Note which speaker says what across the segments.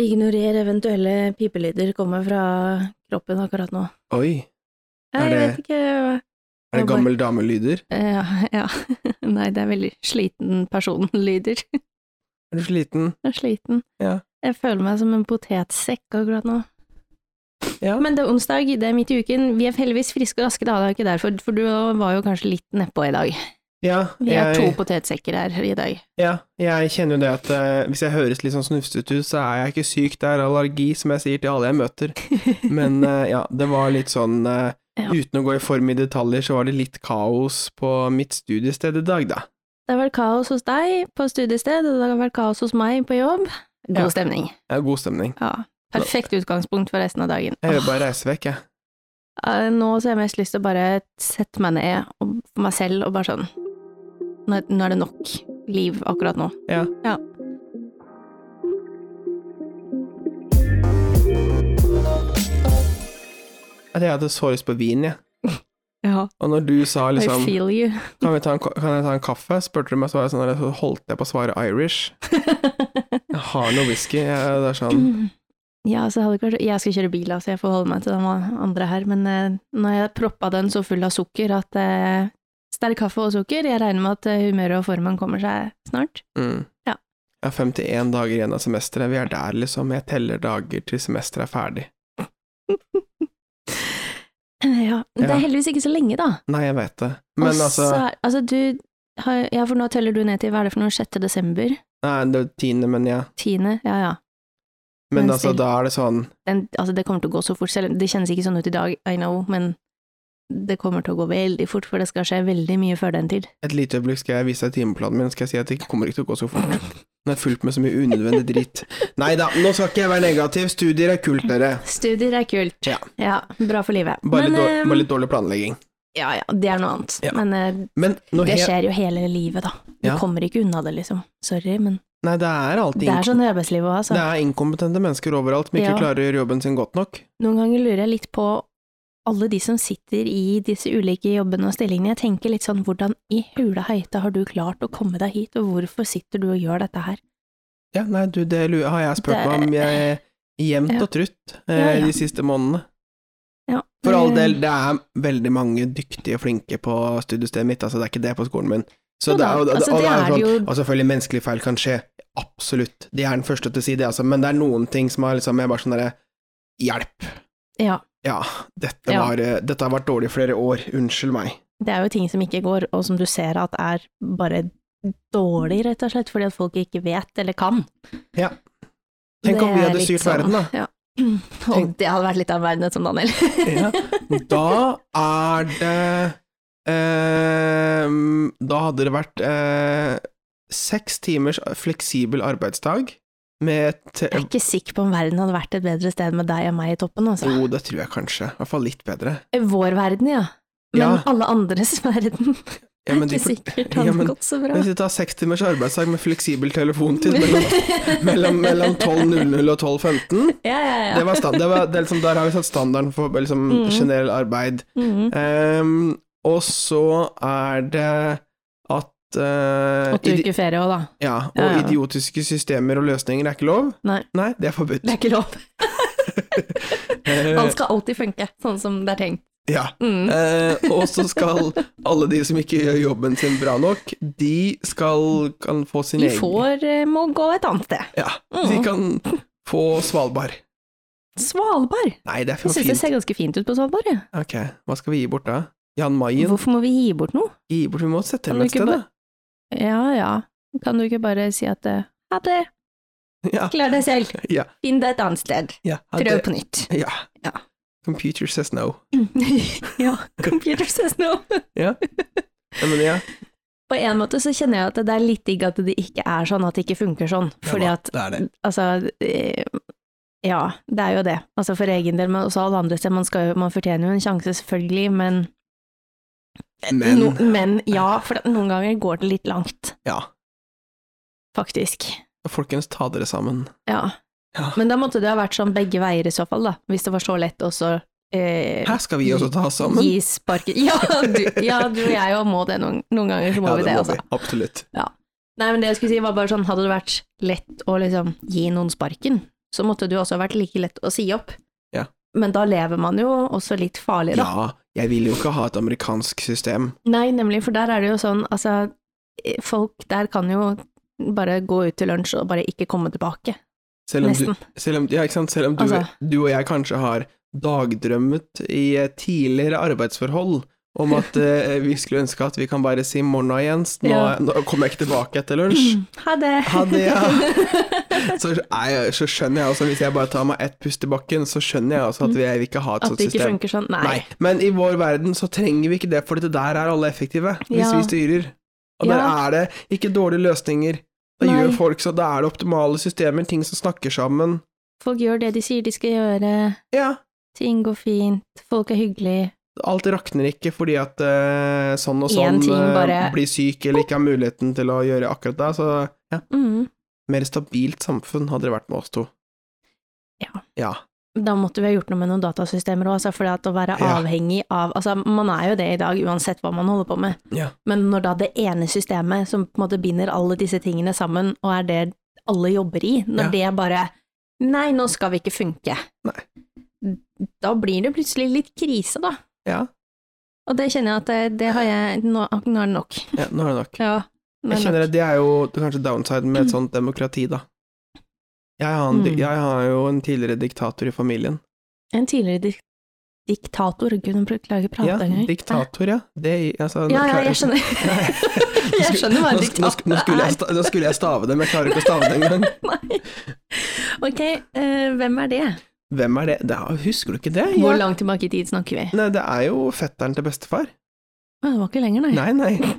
Speaker 1: Ignorer eventuelle pipelyder kommer fra kroppen akkurat nå.
Speaker 2: Oi,
Speaker 1: Nei,
Speaker 2: Er
Speaker 1: Jeg
Speaker 2: det-
Speaker 1: vet ikke
Speaker 2: er det
Speaker 1: Hva var-
Speaker 2: gammel damelyder?
Speaker 1: Ja, ja. Nei, det er veldig sliten personen lyder.
Speaker 2: Er du sliten?
Speaker 1: Jeg er sliten.
Speaker 2: Ja.
Speaker 1: Jeg føler meg som en potetsekk akkurat nå.
Speaker 2: Ja.
Speaker 1: Men det er onsdag, det er midt i uken. Vi er heldigvis friske og raske, da. Det er jo ikke derfor, for du var jo kanskje litt nedpå i dag.
Speaker 2: Ja,
Speaker 1: Vi er to
Speaker 2: jeg,
Speaker 1: potetsekker her i dag.
Speaker 2: ja, jeg kjenner jo det at eh, hvis jeg høres litt sånn snufsete ut, så er jeg ikke syk, det er allergi, som jeg sier til alle jeg møter. Men eh, ja, det var litt sånn eh,
Speaker 1: Ja.
Speaker 2: Uten å gå i form i detaljer, så var det litt kaos på mitt studiested i dag, da.
Speaker 1: Det har vært kaos hos deg på studiested, og det har vært kaos hos meg på jobb. God
Speaker 2: Ja.
Speaker 1: stemning.
Speaker 2: Det er god stemning.
Speaker 1: Ja. Perfekt utgangspunkt for resten av dagen.
Speaker 2: Jeg vil bare reise vekk, jeg.
Speaker 1: Eh, Nå så har jeg mest lyst til å bare sette meg ned og, for meg selv og bare sånn Nå, nå er det nok liv akkurat nå.
Speaker 2: Ja.
Speaker 1: Ja.
Speaker 2: At Jeg hadde så lyst på vin, jeg.
Speaker 1: ja.
Speaker 2: Og når du sa
Speaker 1: I
Speaker 2: liksom
Speaker 1: feel you.
Speaker 2: kan, vi ta en, ka- kan jeg ta en kaffe? spurte du meg, så var jeg sånn, så holdt jeg på å svare Irish. Jeg har noe whisky. Jeg, det er sånn
Speaker 1: ja, så hadde det kanskje, jeg skal kjøre bil, da, så jeg får holde meg til de andre her. Men eh, når jeg proppa den så full av sukker at eh, Sterk kaffe og sukker. Jeg regner med at eh, humøret og formen kommer seg snart.
Speaker 2: mm.
Speaker 1: Ja.
Speaker 2: Jeg har 51 dager igjen av semesteret. Vi er der, liksom. Jeg teller dager til semesteret er ferdig.
Speaker 1: Ja. Det
Speaker 2: Ja.
Speaker 1: er heldigvis ikke så lenge, da.
Speaker 2: Nei, jeg vet det. Men
Speaker 1: Og
Speaker 2: altså
Speaker 1: så er- altså, du har, Ja, for nå teller du ned til hva er det for noe? 6. desember?
Speaker 2: Nei, det er tiende, men ja.
Speaker 1: 10. Ja, ja.
Speaker 2: Men
Speaker 1: Men
Speaker 2: altså,
Speaker 1: still.
Speaker 2: da er det sånn
Speaker 1: Den, altså, det kommer til å gå så fort, selv om det kjennes ikke sånn ut i dag, I know, men det kommer til å gå veldig fort, for det skal skje veldig mye før den tid.
Speaker 2: Et lite øyeblikk skal jeg vise deg timeplanen min, skal jeg si at det ikke kommer ikke til å gå så fort. Den er fullt med så mye unødvendig dritt. Nei da, nå skal ikke jeg være negativ. Studier er kult, dere.
Speaker 1: Studier er kult.
Speaker 2: Ja.
Speaker 1: bra for livet.
Speaker 2: Bare,
Speaker 1: men
Speaker 2: litt,
Speaker 1: eh,
Speaker 2: dår, bare litt dårlig planlegging.
Speaker 1: Ja, ja, det er noe annet.
Speaker 2: Ja.
Speaker 1: Men eh,
Speaker 2: Men noe
Speaker 1: det
Speaker 2: helt
Speaker 1: skjer jo hele livet, da. Du
Speaker 2: Ja.
Speaker 1: kommer ikke unna det, liksom. Sorry, men
Speaker 2: Nei, det er alltid
Speaker 1: det er sånn i arbeidslivet òg, altså.
Speaker 2: Det er inkompetente mennesker overalt som ikke
Speaker 1: Ja.
Speaker 2: klarer å gjøre jobben sin godt nok.
Speaker 1: Noen ganger lurer jeg litt på alle de som sitter i disse ulike jobbene og stillingene. Jeg tenker litt sånn, hvordan i hula heita har du klart å komme deg hit, og hvorfor sitter du og gjør dette her?
Speaker 2: Ja, nei, du, det lu- har jeg spurt
Speaker 1: Det-
Speaker 2: meg om jeg, jevnt
Speaker 1: Ja.
Speaker 2: og trutt eh,
Speaker 1: Ja, ja.
Speaker 2: de siste månedene.
Speaker 1: Ja.
Speaker 2: For all del,
Speaker 1: Eh,
Speaker 2: det er veldig mange dyktige og flinke på studiestedet mitt, altså det er ikke det på skolen min. Så
Speaker 1: Jo
Speaker 2: det
Speaker 1: da,
Speaker 2: er, jo- og,
Speaker 1: altså,
Speaker 2: og,
Speaker 1: det
Speaker 2: det er
Speaker 1: er det
Speaker 2: jo
Speaker 1: jo.
Speaker 2: sånn, og selvfølgelig, menneskelige feil kan skje. Absolutt. De er den første til å si det, altså. Men det er noen ting som er liksom Jeg er bare sånn derre Hjelp.
Speaker 1: Ja,
Speaker 2: Ja, dette,
Speaker 1: Ja.
Speaker 2: Var, eh, dette har vært dårlig i flere år. Unnskyld meg.
Speaker 1: det er jo ting som ikke går, og som du ser at er bare dårlig, rett og slett, fordi at folk ikke vet eller kan.
Speaker 2: Ja. Tenk om
Speaker 1: Det
Speaker 2: vi
Speaker 1: er
Speaker 2: hadde
Speaker 1: litt
Speaker 2: styrt verden, da.
Speaker 1: Ja. Og det hadde vært litt av verden, som Daniel.
Speaker 2: Ja. Da er det ehm, Da hadde det vært eh, seks timers fleksibel arbeidsdag med te
Speaker 1: Jeg er ikke sikker på om verden hadde vært et bedre sted med deg og meg i toppen, altså. Eh,
Speaker 2: Jo, det tror jeg kanskje. I hvert fall litt bedre.
Speaker 1: Vår verden, ja. Men
Speaker 2: Ja.
Speaker 1: alle andres verden.
Speaker 2: Ja, men de
Speaker 1: ikke
Speaker 2: får-
Speaker 1: sikkert
Speaker 2: ja,
Speaker 1: hadde
Speaker 2: men-
Speaker 1: gått så bra.
Speaker 2: Hvis vi tar seks timers arbeidsdag med fleksibel telefontid mellom, mellom, mellom 12.00 og 12.15
Speaker 1: ja, ja, ja.
Speaker 2: det var stand, det var, det er liksom, Der har vi satt standarden for liksom,
Speaker 1: Mm.
Speaker 2: generell arbeid.
Speaker 1: Mhm.
Speaker 2: Ehm, og så er det at eh,
Speaker 1: Åtte
Speaker 2: ide-
Speaker 1: uker ferie òg, da.
Speaker 2: Ja, og
Speaker 1: Ja, ja.
Speaker 2: idiotiske systemer og løsninger er ikke lov.
Speaker 1: Nei.
Speaker 2: Nei, det er forbudt.
Speaker 1: Det er ikke lov.
Speaker 2: Eh,
Speaker 1: Alt skal alltid funke, sånn som det er tenkt.
Speaker 2: ja.
Speaker 1: Mm.
Speaker 2: Eh, og så skal alle de som ikke gjør jobben sin bra nok, de skal kan få sin
Speaker 1: Vi
Speaker 2: egen
Speaker 1: får eh, må gå et annet sted.
Speaker 2: Ja, de
Speaker 1: Mm.
Speaker 2: kan få Svalbard.
Speaker 1: Svalbard.
Speaker 2: Nei, det er
Speaker 1: Jeg
Speaker 2: for
Speaker 1: syns det
Speaker 2: fint.
Speaker 1: ser ganske fint ut på Svalbard. jeg.
Speaker 2: Ok, hva skal vi gi bort da? Jan Mayen?
Speaker 1: Hvorfor må vi gi bort noe?
Speaker 2: Gi bort, vi må sette
Speaker 1: Kan
Speaker 2: dem
Speaker 1: du
Speaker 2: et
Speaker 1: ikke
Speaker 2: sted, da.
Speaker 1: Ja ja, kan du ikke bare si at eh, ha det,
Speaker 2: Ja,
Speaker 1: klar deg selv,
Speaker 2: ja,
Speaker 1: finn deg et annet sted,
Speaker 2: ja. ha
Speaker 1: prøv
Speaker 2: det-
Speaker 1: på nytt.
Speaker 2: Ja.
Speaker 1: Ja.
Speaker 2: Computer says no.
Speaker 1: ja, computer says no.
Speaker 2: Ja, men ja.
Speaker 1: På en måte så kjenner jeg at det er litt digg at det ikke er sånn, at det ikke funker sånn. Fordi
Speaker 2: ja,
Speaker 1: at,
Speaker 2: da, det er det.
Speaker 1: altså eh, Ja, det er jo det. Altså for egen del, men også alle andre steder. Man, skal jo- man fortjener jo en sjanse, selvfølgelig, men
Speaker 2: Men
Speaker 1: no, men ja, for at noen ganger går det litt langt,
Speaker 2: ja,
Speaker 1: faktisk.
Speaker 2: folkens, ta dere sammen.
Speaker 1: Ja.
Speaker 2: Ja.
Speaker 1: Men da måtte det ha vært sånn begge veier i så fall, da. Hvis det var så lett å så eh,
Speaker 2: Her skal vi også ta oss sammen.
Speaker 1: gi sparket ja, du- ja, du og jeg òg må det noen, noen ganger, så må
Speaker 2: Ja,
Speaker 1: vi det,
Speaker 2: må
Speaker 1: altså.
Speaker 2: vi. Absolutt.
Speaker 1: Nei, men det jeg skulle si var bare sånn, hadde det vært lett å liksom gi noen sparken, så måtte det jo også ha vært like lett å si opp.
Speaker 2: Ja.
Speaker 1: Men da lever man jo også litt farlig, da.
Speaker 2: Ja, jeg vil jo ikke ha et amerikansk system.
Speaker 1: Nei, nemlig, for der er det jo sånn, altså, eh, folk der kan jo bare gå ut til lunsj og bare ikke komme tilbake,
Speaker 2: Selv om, du,
Speaker 1: nesten.
Speaker 2: selv om, ja, ikke sant? Selv om du,
Speaker 1: Altså.
Speaker 2: du og jeg kanskje har dagdrømmet i eh, tidligere arbeidsforhold om at eh, vi skulle ønske at vi kan bare si 'morna, Jens', nå,
Speaker 1: Ja.
Speaker 2: nå kommer jeg ikke tilbake etter lunsj.
Speaker 1: Ha det!
Speaker 2: Ha det, ja. Så, er jeg, så skjønner jeg også, hvis jeg bare tar meg ett pust i bakken, så skjønner jeg også at vi jeg vil ikke ha
Speaker 1: Mm.
Speaker 2: et
Speaker 1: At
Speaker 2: sånt
Speaker 1: det ikke
Speaker 2: system.
Speaker 1: funker sånn. Nei.
Speaker 2: Nei. Men i vår verden så trenger vi ikke det, for dette der er alle effektive, hvis
Speaker 1: Ja.
Speaker 2: vi styrer. Og der
Speaker 1: Ja.
Speaker 2: er det ikke dårlige løsninger. Da
Speaker 1: Nei.
Speaker 2: gjør folk så da er det optimale systemer, ting som snakker sammen.
Speaker 1: Folk gjør det de sier de skal gjøre,
Speaker 2: Ja,
Speaker 1: ting går fint, folk er hyggelige.
Speaker 2: alt rakner ikke fordi at eh, sånn og
Speaker 1: En
Speaker 2: sånn
Speaker 1: ting
Speaker 2: eh,
Speaker 1: bare-
Speaker 2: blir syk eller ikke har muligheten til å gjøre akkurat det, så ja.
Speaker 1: Mm.
Speaker 2: Mer stabilt samfunn hadde det vært med oss to.
Speaker 1: Ja.
Speaker 2: Ja.
Speaker 1: Da måtte vi ha gjort noe med noen datasystemer òg, altså, for det at å være
Speaker 2: Ja.
Speaker 1: avhengig av Altså, man er jo det i dag, uansett hva man holder på med,
Speaker 2: Ja.
Speaker 1: men når da det ene systemet som på en måte binder alle disse tingene sammen, og er det alle jobber i, når
Speaker 2: Ja.
Speaker 1: det bare Nei, nå skal vi ikke funke. Da blir det plutselig litt krise, da.
Speaker 2: Ja.
Speaker 1: Og det kjenner jeg at det, det har jeg Nå, nå er det nok.
Speaker 2: ja, nå er det nok.
Speaker 1: Ja, nå er
Speaker 2: Jeg
Speaker 1: det
Speaker 2: kjenner
Speaker 1: nok.
Speaker 2: at det er jo det er kanskje downsiden med et sånt demokrati, da. Jeg har, en, di-
Speaker 1: Mm.
Speaker 2: jeg har jo en tidligere diktator i familien.
Speaker 1: En tidligere dik diktator Gud, hun klager prate
Speaker 2: Ja,
Speaker 1: engang.
Speaker 2: diktator, ja. Det, altså, nå
Speaker 1: Ja, ja,
Speaker 2: klarer
Speaker 1: jeg skjønner. jeg skjønner hva en
Speaker 2: Nå sk- nå
Speaker 1: diktator
Speaker 2: sk- Nå skulle jeg
Speaker 1: er.
Speaker 2: sta- nå skulle jeg stave det, men jeg klarer ikke å stave det engang.
Speaker 1: Nei. Ok, eh, hvem er det?
Speaker 2: Hvem er det? det? er- Husker du ikke det?
Speaker 1: Hvor
Speaker 2: Ja.
Speaker 1: langt tilbake i tid snakker vi?
Speaker 2: Nei, det er jo fetteren til bestefar.
Speaker 1: Å, Det var ikke lenger, nei.
Speaker 2: Nei, nei.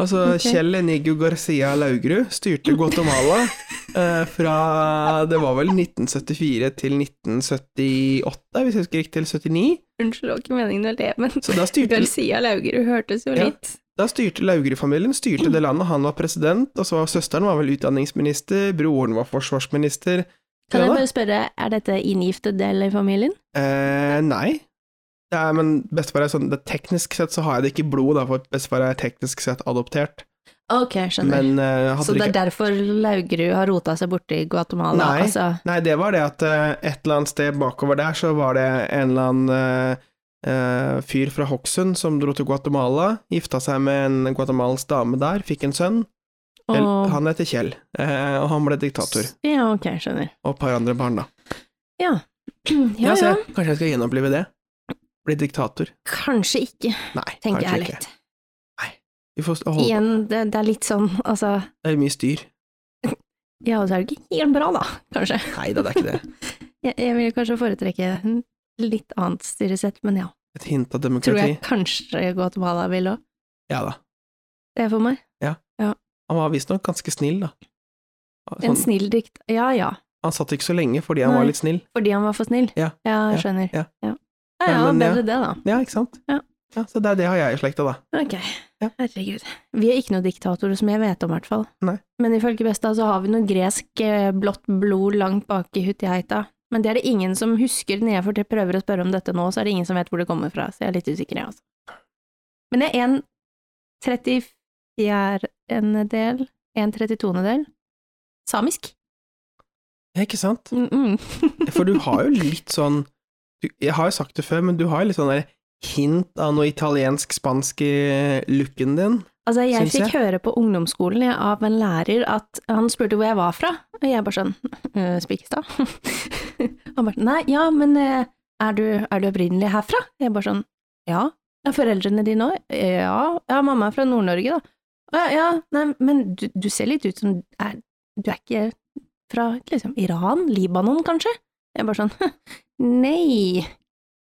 Speaker 2: Altså,
Speaker 1: Ok.
Speaker 2: Kjell Enigio Garcia Laugrud styrte Guatemala eh, fra Det var vel 1974 til 1978, hvis jeg husker riktig, til 79.
Speaker 1: Unnskyld, det var ikke meningen å le, men
Speaker 2: Så da styrte,
Speaker 1: Garcia Laugerud hørtes jo
Speaker 2: Ja.
Speaker 1: litt
Speaker 2: da styrte Laugrud-familien styrte det landet. Han var president, og så var søsteren var vel utdanningsminister, broren var forsvarsminister.
Speaker 1: Kan jeg
Speaker 2: Ja da.
Speaker 1: bare spørre, er dette inngiftet del i familien?
Speaker 2: Eh, nei. Det er, men bestefar er sånn det, Teknisk sett så har jeg det ikke i blod, da, for bestefar er teknisk sett adoptert.
Speaker 1: Ok, jeg skjønner.
Speaker 2: Men eh, hadde
Speaker 1: Så det
Speaker 2: det
Speaker 1: er
Speaker 2: ikke
Speaker 1: derfor Laugerud har rota seg borti Guatemala?
Speaker 2: Nei.
Speaker 1: Altså,
Speaker 2: Nei, det var det at eh, et eller annet sted bakover der så var det en eller annen eh, eh, fyr fra Hokksund som dro til Guatemala, gifta seg med en guatemalsk dame der, fikk en sønn. El-
Speaker 1: og
Speaker 2: Han heter Kjell, eh, og han ble diktator.
Speaker 1: Ja, ok, jeg skjønner.
Speaker 2: Og et par andre barn, da.
Speaker 1: Ja. Ja,
Speaker 2: se,
Speaker 1: ja.
Speaker 2: kanskje jeg skal gjenopplive det. Bli diktator.
Speaker 1: Kanskje ikke,
Speaker 2: Nei,
Speaker 1: tenker
Speaker 2: kanskje
Speaker 1: jeg
Speaker 2: ikke.
Speaker 1: litt.
Speaker 2: Vi får holde på.
Speaker 1: Igjen, det, det er litt sånn, altså
Speaker 2: Det er mye styr.
Speaker 1: Ja, og så er det ikke helt bra, da, kanskje.
Speaker 2: Nei da, det er ikke det.
Speaker 1: Jeg, jeg vil kanskje foretrekke en litt annet styresett, men ja.
Speaker 2: Et hint av
Speaker 1: Tror jeg
Speaker 2: demokrati.
Speaker 1: kanskje Guatemala vil òg.
Speaker 2: Ja da.
Speaker 1: Det er for meg.
Speaker 2: Han var visstnok ganske snill, da.
Speaker 1: En
Speaker 2: Sånn,
Speaker 1: snill dikt. Ja ja.
Speaker 2: han satt ikke så lenge fordi han
Speaker 1: Nei.
Speaker 2: var litt snill.
Speaker 1: Fordi han var for snill.
Speaker 2: Ja,
Speaker 1: jeg
Speaker 2: ja,
Speaker 1: skjønner.
Speaker 2: ja.
Speaker 1: ja. Ja, ja,
Speaker 2: Men, ja.
Speaker 1: bedre det, da.
Speaker 2: Ja, ikke sant?
Speaker 1: Ja.
Speaker 2: Så det er det har jeg i slekta, da.
Speaker 1: Ok.
Speaker 2: Ja.
Speaker 1: Herregud. Vi er ikke noen diktatorer som jeg vet om, i hvert fall.
Speaker 2: Nei.
Speaker 1: Men ifølge Besta så har vi noe gresk eh, blått blod langt bak i Hutiheita. Men det er det ingen som husker når jeg får til- prøver å spørre om dette nå, så er det ingen som vet hvor det kommer fra, så jeg er litt usikker, jeg, altså. Men det er en 34-del, en 32-del samisk.
Speaker 2: Ja, ikke sant?
Speaker 1: Mm -mm.
Speaker 2: For du har jo litt sånn du, Jeg har jo sagt det før, men du har jo litt sånn der hint av noe italiensk-spansk i looken din.
Speaker 1: Altså, jeg
Speaker 2: Syns
Speaker 1: fikk høre på ungdomsskolen jeg, av en lærer at han spurte hvor jeg var fra, og jeg bare sånn «Øh, Spikkestad? han bare nei, ja, men eh, er du, er du opprinnelig herfra? Jeg bare sånn ja. Er foreldrene dine òg? Ja. ja, mamma er fra Nord-Norge, da. «Å Ja, ja, nei, men du, du ser litt ut som er, Du er ikke fra liksom Iran? Libanon, kanskje? Jeg bare sånn nei,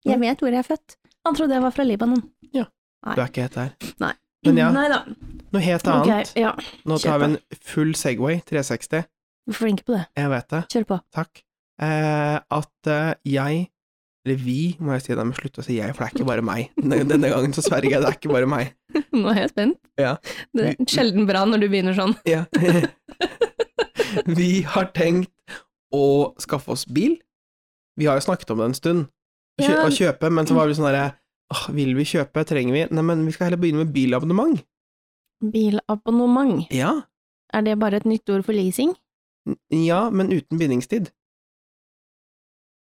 Speaker 1: jeg vet hvor jeg er født. Han trodde jeg var fra Libanon.
Speaker 2: Du er ikke helt der.
Speaker 1: Nei.
Speaker 2: Men ja,
Speaker 1: Nei da.
Speaker 2: noe helt
Speaker 1: Ok,
Speaker 2: annet.
Speaker 1: ja.
Speaker 2: Nå tar
Speaker 1: kjør
Speaker 2: vi en full Segway 360.
Speaker 1: Vi er flinke på det.
Speaker 2: Jeg vet det.
Speaker 1: Kjør på.
Speaker 2: Takk. Eh, at eh, jeg eller vi, må jeg si, da må jeg slutte å si jeg, for det er ikke bare meg. Denne, denne gangen så sverger jeg, det er ikke bare meg.
Speaker 1: Nå er jeg spent.
Speaker 2: Ja.
Speaker 1: Det er sjelden bra når du begynner sånn.
Speaker 2: Ja. Vi har tenkt å skaffe oss bil. Vi har jo snakket om det en stund, å kjø
Speaker 1: Ja. Mm.
Speaker 2: å kjøpe, men så var vi sånn derre Åh, vil vi kjøpe, trenger vi Nei, men vi skal heller begynne med bilabonnement.
Speaker 1: Bilabonnement,
Speaker 2: Ja,
Speaker 1: er det bare et nytt ord for leasing?
Speaker 2: N- ja men uten bindingstid.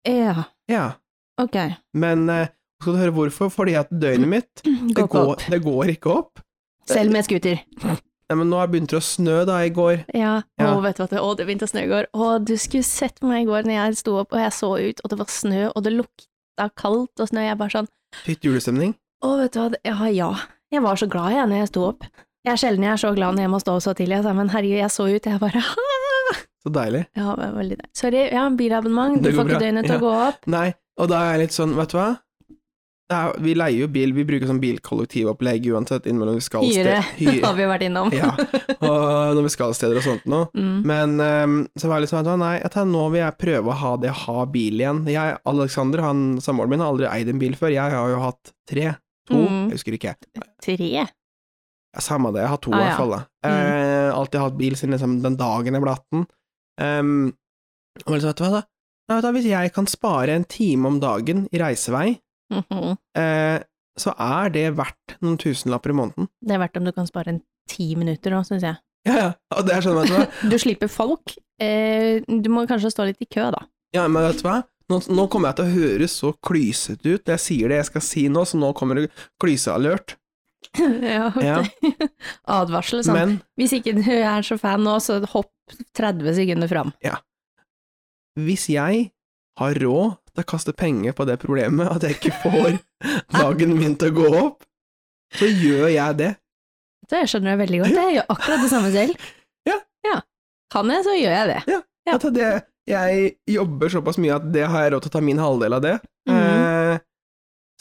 Speaker 1: Ja,
Speaker 2: Ja.
Speaker 1: ok.
Speaker 2: Men eh, skal du høre hvorfor? Fordi at døgnet mitt,
Speaker 1: Gå
Speaker 2: det
Speaker 1: ikke
Speaker 2: går,
Speaker 1: opp.
Speaker 2: det går ikke opp.
Speaker 1: Selv med scooter.
Speaker 2: Nei, men nå har det begynt å snø da i går.
Speaker 1: Ja. Å,
Speaker 2: Ja.
Speaker 1: vet du hva det Å, det begynte å snø i går. Å, du skulle sett på meg i går når jeg sto opp og jeg så ut, og det var snø, og det lukta kaldt og snø. Jeg bare sånn
Speaker 2: Fikk julestemning.
Speaker 1: Å, vet du hva, det- ja, ja. Jeg var så glad jeg når jeg sto opp. Jeg er sjelden jeg er så glad når jeg må stå opp så tidlig. Jeg sa, men herregud, jeg så ut, jeg bare «Ah!»
Speaker 2: Så deilig.
Speaker 1: Ja, det var veldig deilig. Sorry, jeg har en bilabonnement, du
Speaker 2: Det går
Speaker 1: får ikke
Speaker 2: bra,
Speaker 1: døgnet til å
Speaker 2: ja.
Speaker 1: gå opp.
Speaker 2: Nei, og da er jeg litt sånn, vet du hva? Det er, vi leier jo bil, vi bruker sånn bilkollektivopplegg uansett innimellom vi skal
Speaker 1: Hyre,
Speaker 2: sted-
Speaker 1: har vi vært innom.
Speaker 2: ja, og når vi skal steder og sånt nå.
Speaker 1: Mm.
Speaker 2: Men ehm, så var jeg litt sånn, vet du hva, nei, jeg tar, nå vil jeg prøve å ha det å ha bil igjen. Jeg, Alexander, han, samboeren min, har aldri eid en bil før. Jeg har jo hatt tre, to,
Speaker 1: Mm.
Speaker 2: jeg husker ikke.
Speaker 1: Tre?
Speaker 2: Ja, Samme det, jeg har
Speaker 1: Ah,
Speaker 2: to i
Speaker 1: ja.
Speaker 2: hvert fall. da. Eh, alltid hatt bil siden liksom, den dagen jeg ble 18. Ehm, og liksom, vet du hva da? Nei, vet du, hva, hvis jeg kan spare en time om dagen i reisevei,
Speaker 1: Mhm.
Speaker 2: eh, så er det verdt noen tusenlapper i måneden.
Speaker 1: Det er verdt om du kan spare en ti minutter nå, syns jeg.
Speaker 2: Ja, ja, og det er sånn, vet du hva.
Speaker 1: Du slipper folk. Eh, du må kanskje stå litt i kø, da.
Speaker 2: Ja, men vet du hva? Nå, nå kommer jeg til å høres så klysete ut. Jeg sier det jeg skal si nå, så nå kommer det klysealert.
Speaker 1: ja, ok.
Speaker 2: Ja.
Speaker 1: Advarsel, sånn.
Speaker 2: Men
Speaker 1: Hvis ikke du er så fan nå, så hopp 30 sekunder fram.
Speaker 2: hvis jeg har råd til å kaste penger på det problemet, at jeg ikke får dagen min til å gå opp, så gjør jeg det.
Speaker 1: Det skjønner jeg veldig godt. Jeg gjør akkurat det samme selv.
Speaker 2: Ja.
Speaker 1: Kan jeg, så gjør jeg det. Ja.
Speaker 2: At det, jeg jobber såpass mye at det har jeg råd til å ta min halvdel av det.
Speaker 1: Mhm.
Speaker 2: Eh,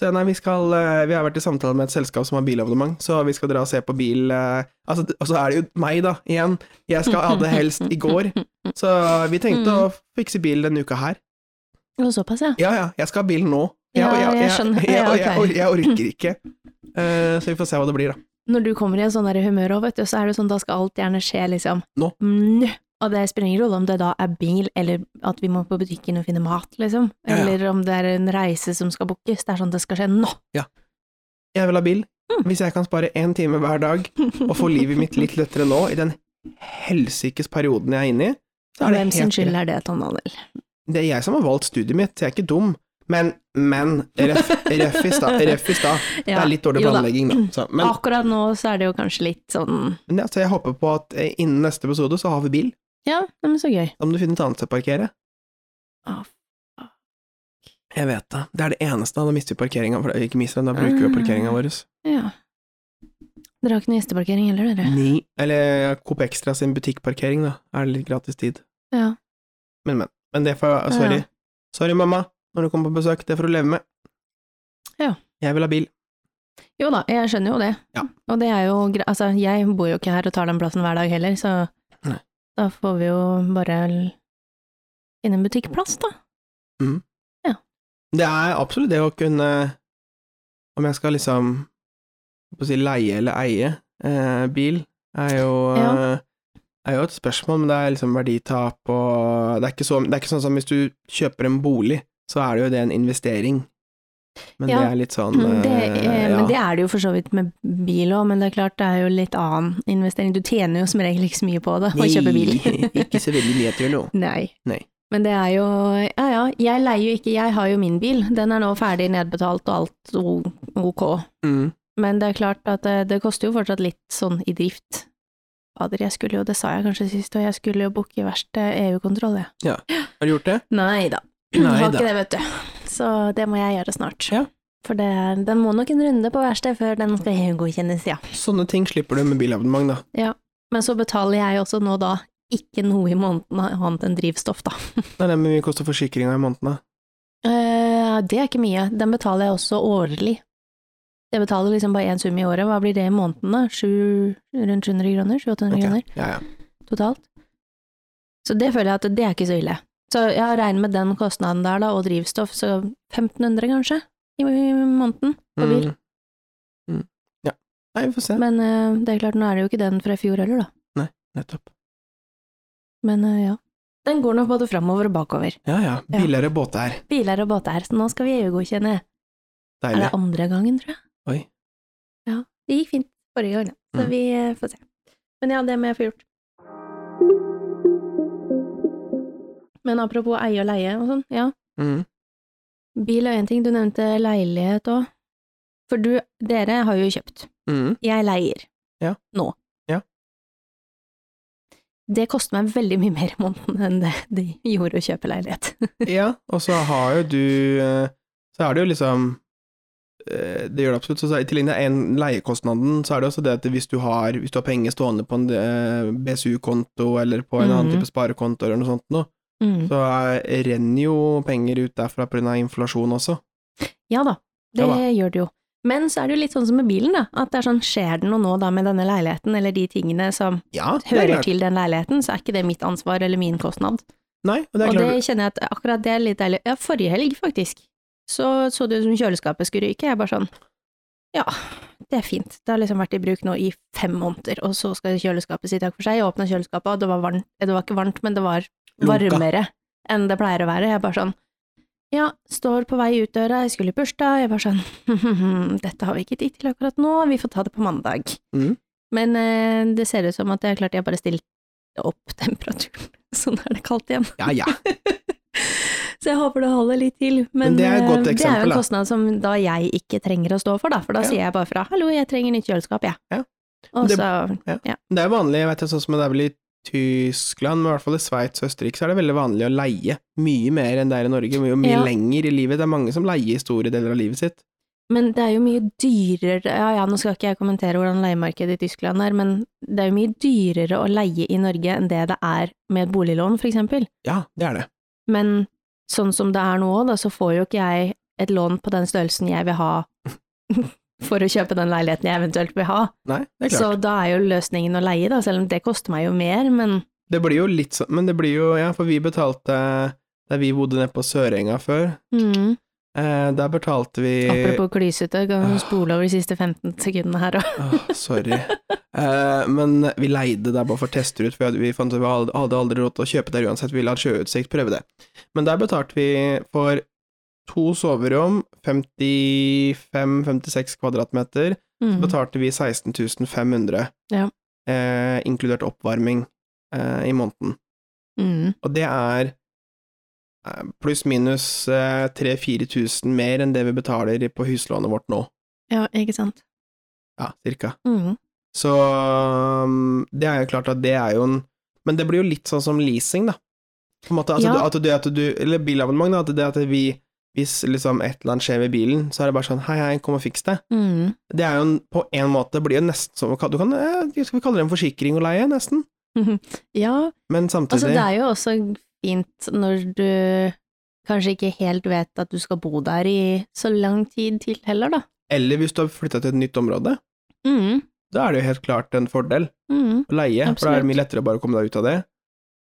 Speaker 2: så ja, nei, vi, skal, eh, vi har vært i samtale med et selskap som har bilabonnement, så vi skal dra og se på bil. eh, Altså, og så er det jo meg, da, igjen. Jeg skal hadde helst i går, så vi tenkte å fikse bil denne uka her.
Speaker 1: Og såpass, ja.
Speaker 2: Ja, ja, jeg skal ha bil nå.
Speaker 1: Ja, jeg skjønner.
Speaker 2: Jeg,
Speaker 1: Ja,
Speaker 2: jeg, jeg,
Speaker 1: ok.
Speaker 2: jeg orker ikke. Eh, så vi får se hva det blir, da.
Speaker 1: Når du kommer i en sånn der humør òg, vet du, så er det sånn, da skal alt gjerne skje, liksom.
Speaker 2: Nå.
Speaker 1: Mm, Og det spiller ingen rolle om det da er bil, eller at vi må på butikken og finne mat, liksom.
Speaker 2: Ja, ja.
Speaker 1: Eller om det er en reise som skal bookes. Det er sånn det skal skje nå.
Speaker 2: Jeg vil ha bil.
Speaker 1: Mm.
Speaker 2: Hvis jeg kan spare én time hver dag og få livet mitt litt lettere nå, i den helsikes perioden jeg er inne i, så er det
Speaker 1: Hvem sin
Speaker 2: helt
Speaker 1: skyld er det, Tom Daniel?
Speaker 2: Det er jeg som har valgt studiet mitt, jeg er ikke dum. Men, men, røff røff i stad. Røff i stad. Det
Speaker 1: Ja,
Speaker 2: er litt dårlig
Speaker 1: jo da. Ah.
Speaker 2: planlegging, da. Så, men,
Speaker 1: Akkurat nå så er det jo kanskje litt sånn
Speaker 2: men ja, så jeg håper på at eh, innen neste episode så har vi bil.
Speaker 1: Ja, nei, men så gøy.
Speaker 2: Da må du finne et annet sted å parkere.
Speaker 1: Å,
Speaker 2: Jeg vet det. Det er det eneste. Da mister vi parkeringa. for- Ikke mister den, da bruker
Speaker 1: Mm.
Speaker 2: vi parkeringa vår.
Speaker 1: Ja. Dere har ikke noe gjesteparkering heller, dere?
Speaker 2: Ni. Eller eh, Coop Extra sin butikkparkering, da. Er det litt gratis tid.
Speaker 1: Ja.
Speaker 2: Men, men. Men det får jeg Sorry.
Speaker 1: Ja.
Speaker 2: Sorry, mamma, når du kommer på besøk. Det får du leve med.
Speaker 1: Ja.
Speaker 2: Jeg vil ha bil.
Speaker 1: Jo da, jeg skjønner jo det.
Speaker 2: Ja.
Speaker 1: Og det er jo greit, altså jeg bor jo ikke her og tar den plassen hver dag heller, så
Speaker 2: Nei.
Speaker 1: da får vi jo bare l- finne en butikkplass, da.
Speaker 2: Det er absolutt det å kunne Om jeg skal liksom hva skal jeg si, leie eller eie eh, bil, er jo,
Speaker 1: Ja.
Speaker 2: eh, er jo et spørsmål, men det er liksom verditap og det er, ikke så, det er ikke sånn som hvis du kjøper en bolig, så er det jo det en investering. Men
Speaker 1: Ja.
Speaker 2: det er litt sånn
Speaker 1: Mm, Det,
Speaker 2: eh,
Speaker 1: eh,
Speaker 2: ja.
Speaker 1: Men det er det jo for så vidt med bil òg, men det er klart det er jo litt annen investering. Du tjener jo som regel ikke så mye på det å kjøpe bil.
Speaker 2: Nei, ikke så veldig mye til nå.
Speaker 1: Nei.
Speaker 2: Nei.
Speaker 1: Men det er jo Ja ja, jeg leier jo ikke, jeg har jo min bil. Den er nå ferdig nedbetalt og alt o- ok.
Speaker 2: Mm.
Speaker 1: Men det er klart at det, det koster jo fortsatt litt sånn i drift. Fader, jeg skulle jo, det sa jeg kanskje sist, og jeg skulle jo booke verksted EU-kontroll, jeg.
Speaker 2: Har du gjort det?
Speaker 1: Nei da.
Speaker 2: Nei
Speaker 1: Har
Speaker 2: da.
Speaker 1: ikke det, vet du. Så det må jeg gjøre snart.
Speaker 2: Ja.
Speaker 1: For det, er- den må nok en runde på verksted før den skal EU-godkjennes, ja.
Speaker 2: Sånne ting slipper du med bilabonnement, da.
Speaker 1: Men så betaler jeg også nå da ikke noe i måneden annet enn drivstoff, da.
Speaker 2: Det er det med mye koster forsikringa i måneden, da.
Speaker 1: Eh, det er ikke mye. Den betaler jeg også årlig. Jeg betaler liksom bare én sum i året. Hva blir det i måneden, da? Sju, rundt 700 kroner? 700-800
Speaker 2: Ok.
Speaker 1: kroner?
Speaker 2: Ja, ja.
Speaker 1: totalt. Så det føler jeg at det er ikke så ille. Så jeg regner med den kostnaden der, da, og drivstoff, så 1500 kanskje i i måneden på bil.
Speaker 2: Mm. Mm. Ja. Nei, vi får se.
Speaker 1: Men eh, det er klart, nå er det jo ikke den fra i fjor heller, da.
Speaker 2: Nettopp.
Speaker 1: Men eh, ja. Den går nå både framover og bakover.
Speaker 2: Ja ja,
Speaker 1: Ja.
Speaker 2: billigere båter.
Speaker 1: Biler og båter, så nå skal vi EU-godkjenne. Er
Speaker 2: Deilig.
Speaker 1: det andre gangen, tror jeg?
Speaker 2: Oi.
Speaker 1: Ja. Det gikk fint forrige gang, da. Så
Speaker 2: Mm.
Speaker 1: vi eh, får se. Men ja, det må jeg få gjort. Men apropos eie og leie og sånn, ja.
Speaker 2: Mm.
Speaker 1: Bil er én ting, du nevnte leilighet òg. For du, dere har jo kjøpt.
Speaker 2: Mm.
Speaker 1: Jeg leier.
Speaker 2: Ja.
Speaker 1: Nå.
Speaker 2: Ja.
Speaker 1: Det koster meg veldig mye mer i måneden enn det de gjorde å kjøpe leilighet.
Speaker 2: Ja, og så har jo du eh, Så er det jo liksom eh, Det gjør det absolutt. Så så i tillegg til en- leiekostnaden, så er det også det at hvis du har, hvis du har penger stående på en eh, BSU-konto eller på en annen
Speaker 1: Mhm.
Speaker 2: type sparekonto eller noe sånt noe,
Speaker 1: Mm.
Speaker 2: så eh, renner jo penger ut derfra pga. inflasjon også.
Speaker 1: Ja da, det
Speaker 2: Ja da.
Speaker 1: gjør det jo. Men så er det jo litt sånn som med bilen, da. At det er sånn, skjer det noe nå da med denne leiligheten, eller de tingene som
Speaker 2: Ja, det er
Speaker 1: hører
Speaker 2: klart.
Speaker 1: til den leiligheten, så er ikke det mitt ansvar eller min kostnad.
Speaker 2: Nei, og det er
Speaker 1: og
Speaker 2: klart.
Speaker 1: det kjenner jeg at akkurat det er litt deilig. Ja, forrige helg, faktisk, så så det ut som kjøleskapet skulle ryke. Jeg bare sånn, ja, det er fint. Det har liksom vært i bruk nå i fem måneder, og så skal kjøleskapet si takk for seg. Jeg åpna kjøleskapet, og det var varmt, det var ikke varmt, men det var
Speaker 2: Lunka.
Speaker 1: varmere enn det pleier å være. Jeg bare sånn, ja, står på vei ut døra, jeg skulle i bursdag, jeg bare sånn, dette har vi ikke tid til akkurat nå, vi får ta det på mandag.
Speaker 2: Mhm.
Speaker 1: Men eh, det ser ut som at jeg klarte jeg bare stilte opp temperaturen, så nå er det kaldt igjen.
Speaker 2: Ja, ja.
Speaker 1: Så jeg håper det holder litt til. Men,
Speaker 2: Men det er et godt
Speaker 1: eh, det er
Speaker 2: eksempel,
Speaker 1: jo
Speaker 2: da.
Speaker 1: en kostnad som da jeg ikke trenger å stå for, da. For da
Speaker 2: Ja.
Speaker 1: sier jeg bare fra 'hallo, jeg trenger nytt kjøleskap', jeg.
Speaker 2: Ja.
Speaker 1: Og så
Speaker 2: Det- Det er vanlig, jeg vet jeg, sånn som det er vel i Tyskland, men i hvert fall i Sveits og Østerrike, så er det veldig vanlig å leie. Mye mer enn det er i Norge, mye, mye
Speaker 1: Ja.
Speaker 2: lenger i livet. Det er mange som leier i store deler av livet sitt.
Speaker 1: Men det er jo mye dyrere Ja ja, nå skal ikke jeg kommentere hvordan leiemarkedet i Tyskland er, men det er jo mye dyrere å leie i Norge enn det det er med et boliglån, for eksempel.
Speaker 2: Ja, det er det.
Speaker 1: Men sånn som det er nå òg, da, så får jo ikke jeg et lån på den størrelsen jeg vil ha for å kjøpe den leiligheten jeg eventuelt vil ha.
Speaker 2: Nei, det er klart.
Speaker 1: Så da er jo løsningen å leie, da, selv om det koster meg jo mer, men
Speaker 2: Det blir jo litt sånn, men det blir jo Ja, for vi betalte Der vi bodde nede på Sørenga før,
Speaker 1: mm.
Speaker 2: eh, der betalte vi
Speaker 1: Apropos klysete, kan du
Speaker 2: Åh.
Speaker 1: spole over de siste 15 sekundene her òg?
Speaker 2: Åh, Sorry. Eh, men vi leide der bare for å teste ut, for vi hadde- vi fant ut vi hadde hadde aldri råd til å kjøpe der uansett, vi ville ha sjøutsikt, prøve det. Men der betalte vi for to soverom, 55-56 kvadratmeter,
Speaker 1: Mm.
Speaker 2: betalte vi 16 500,
Speaker 1: Ja.
Speaker 2: eh, inkludert oppvarming, eh, i måneden.
Speaker 1: Mm.
Speaker 2: Og det er eh, pluss-minus 3000-4000 mer enn det vi betaler på huslånet vårt nå.
Speaker 1: Ja, ikke sant.
Speaker 2: Ja, cirka.
Speaker 1: Mm.
Speaker 2: Så um, det er jo klart at det er jo en Men det blir jo litt sånn som leasing, da. På en måte, altså,
Speaker 1: Ja.
Speaker 2: at du, at du, eller bilabonnement, da. At det at vi Hvis liksom et eller annet skjer med bilen, så er det bare sånn Hei, hei, kom og fiks det.
Speaker 1: Mm.
Speaker 2: Det er jo en, på en måte blir jo nesten som å kalle Du kan eh, Skal vi kalle det en forsikring å leie, nesten?
Speaker 1: Ja,
Speaker 2: Men samtidig
Speaker 1: altså det er jo også fint når du kanskje ikke helt vet at du skal bo der i så lang tid til heller, da.
Speaker 2: Eller hvis du har flytta til et nytt område,
Speaker 1: Mm.
Speaker 2: da er det jo helt klart en fordel.
Speaker 1: Mm.
Speaker 2: å leie, for da er det mye lettere å bare komme deg ut av det.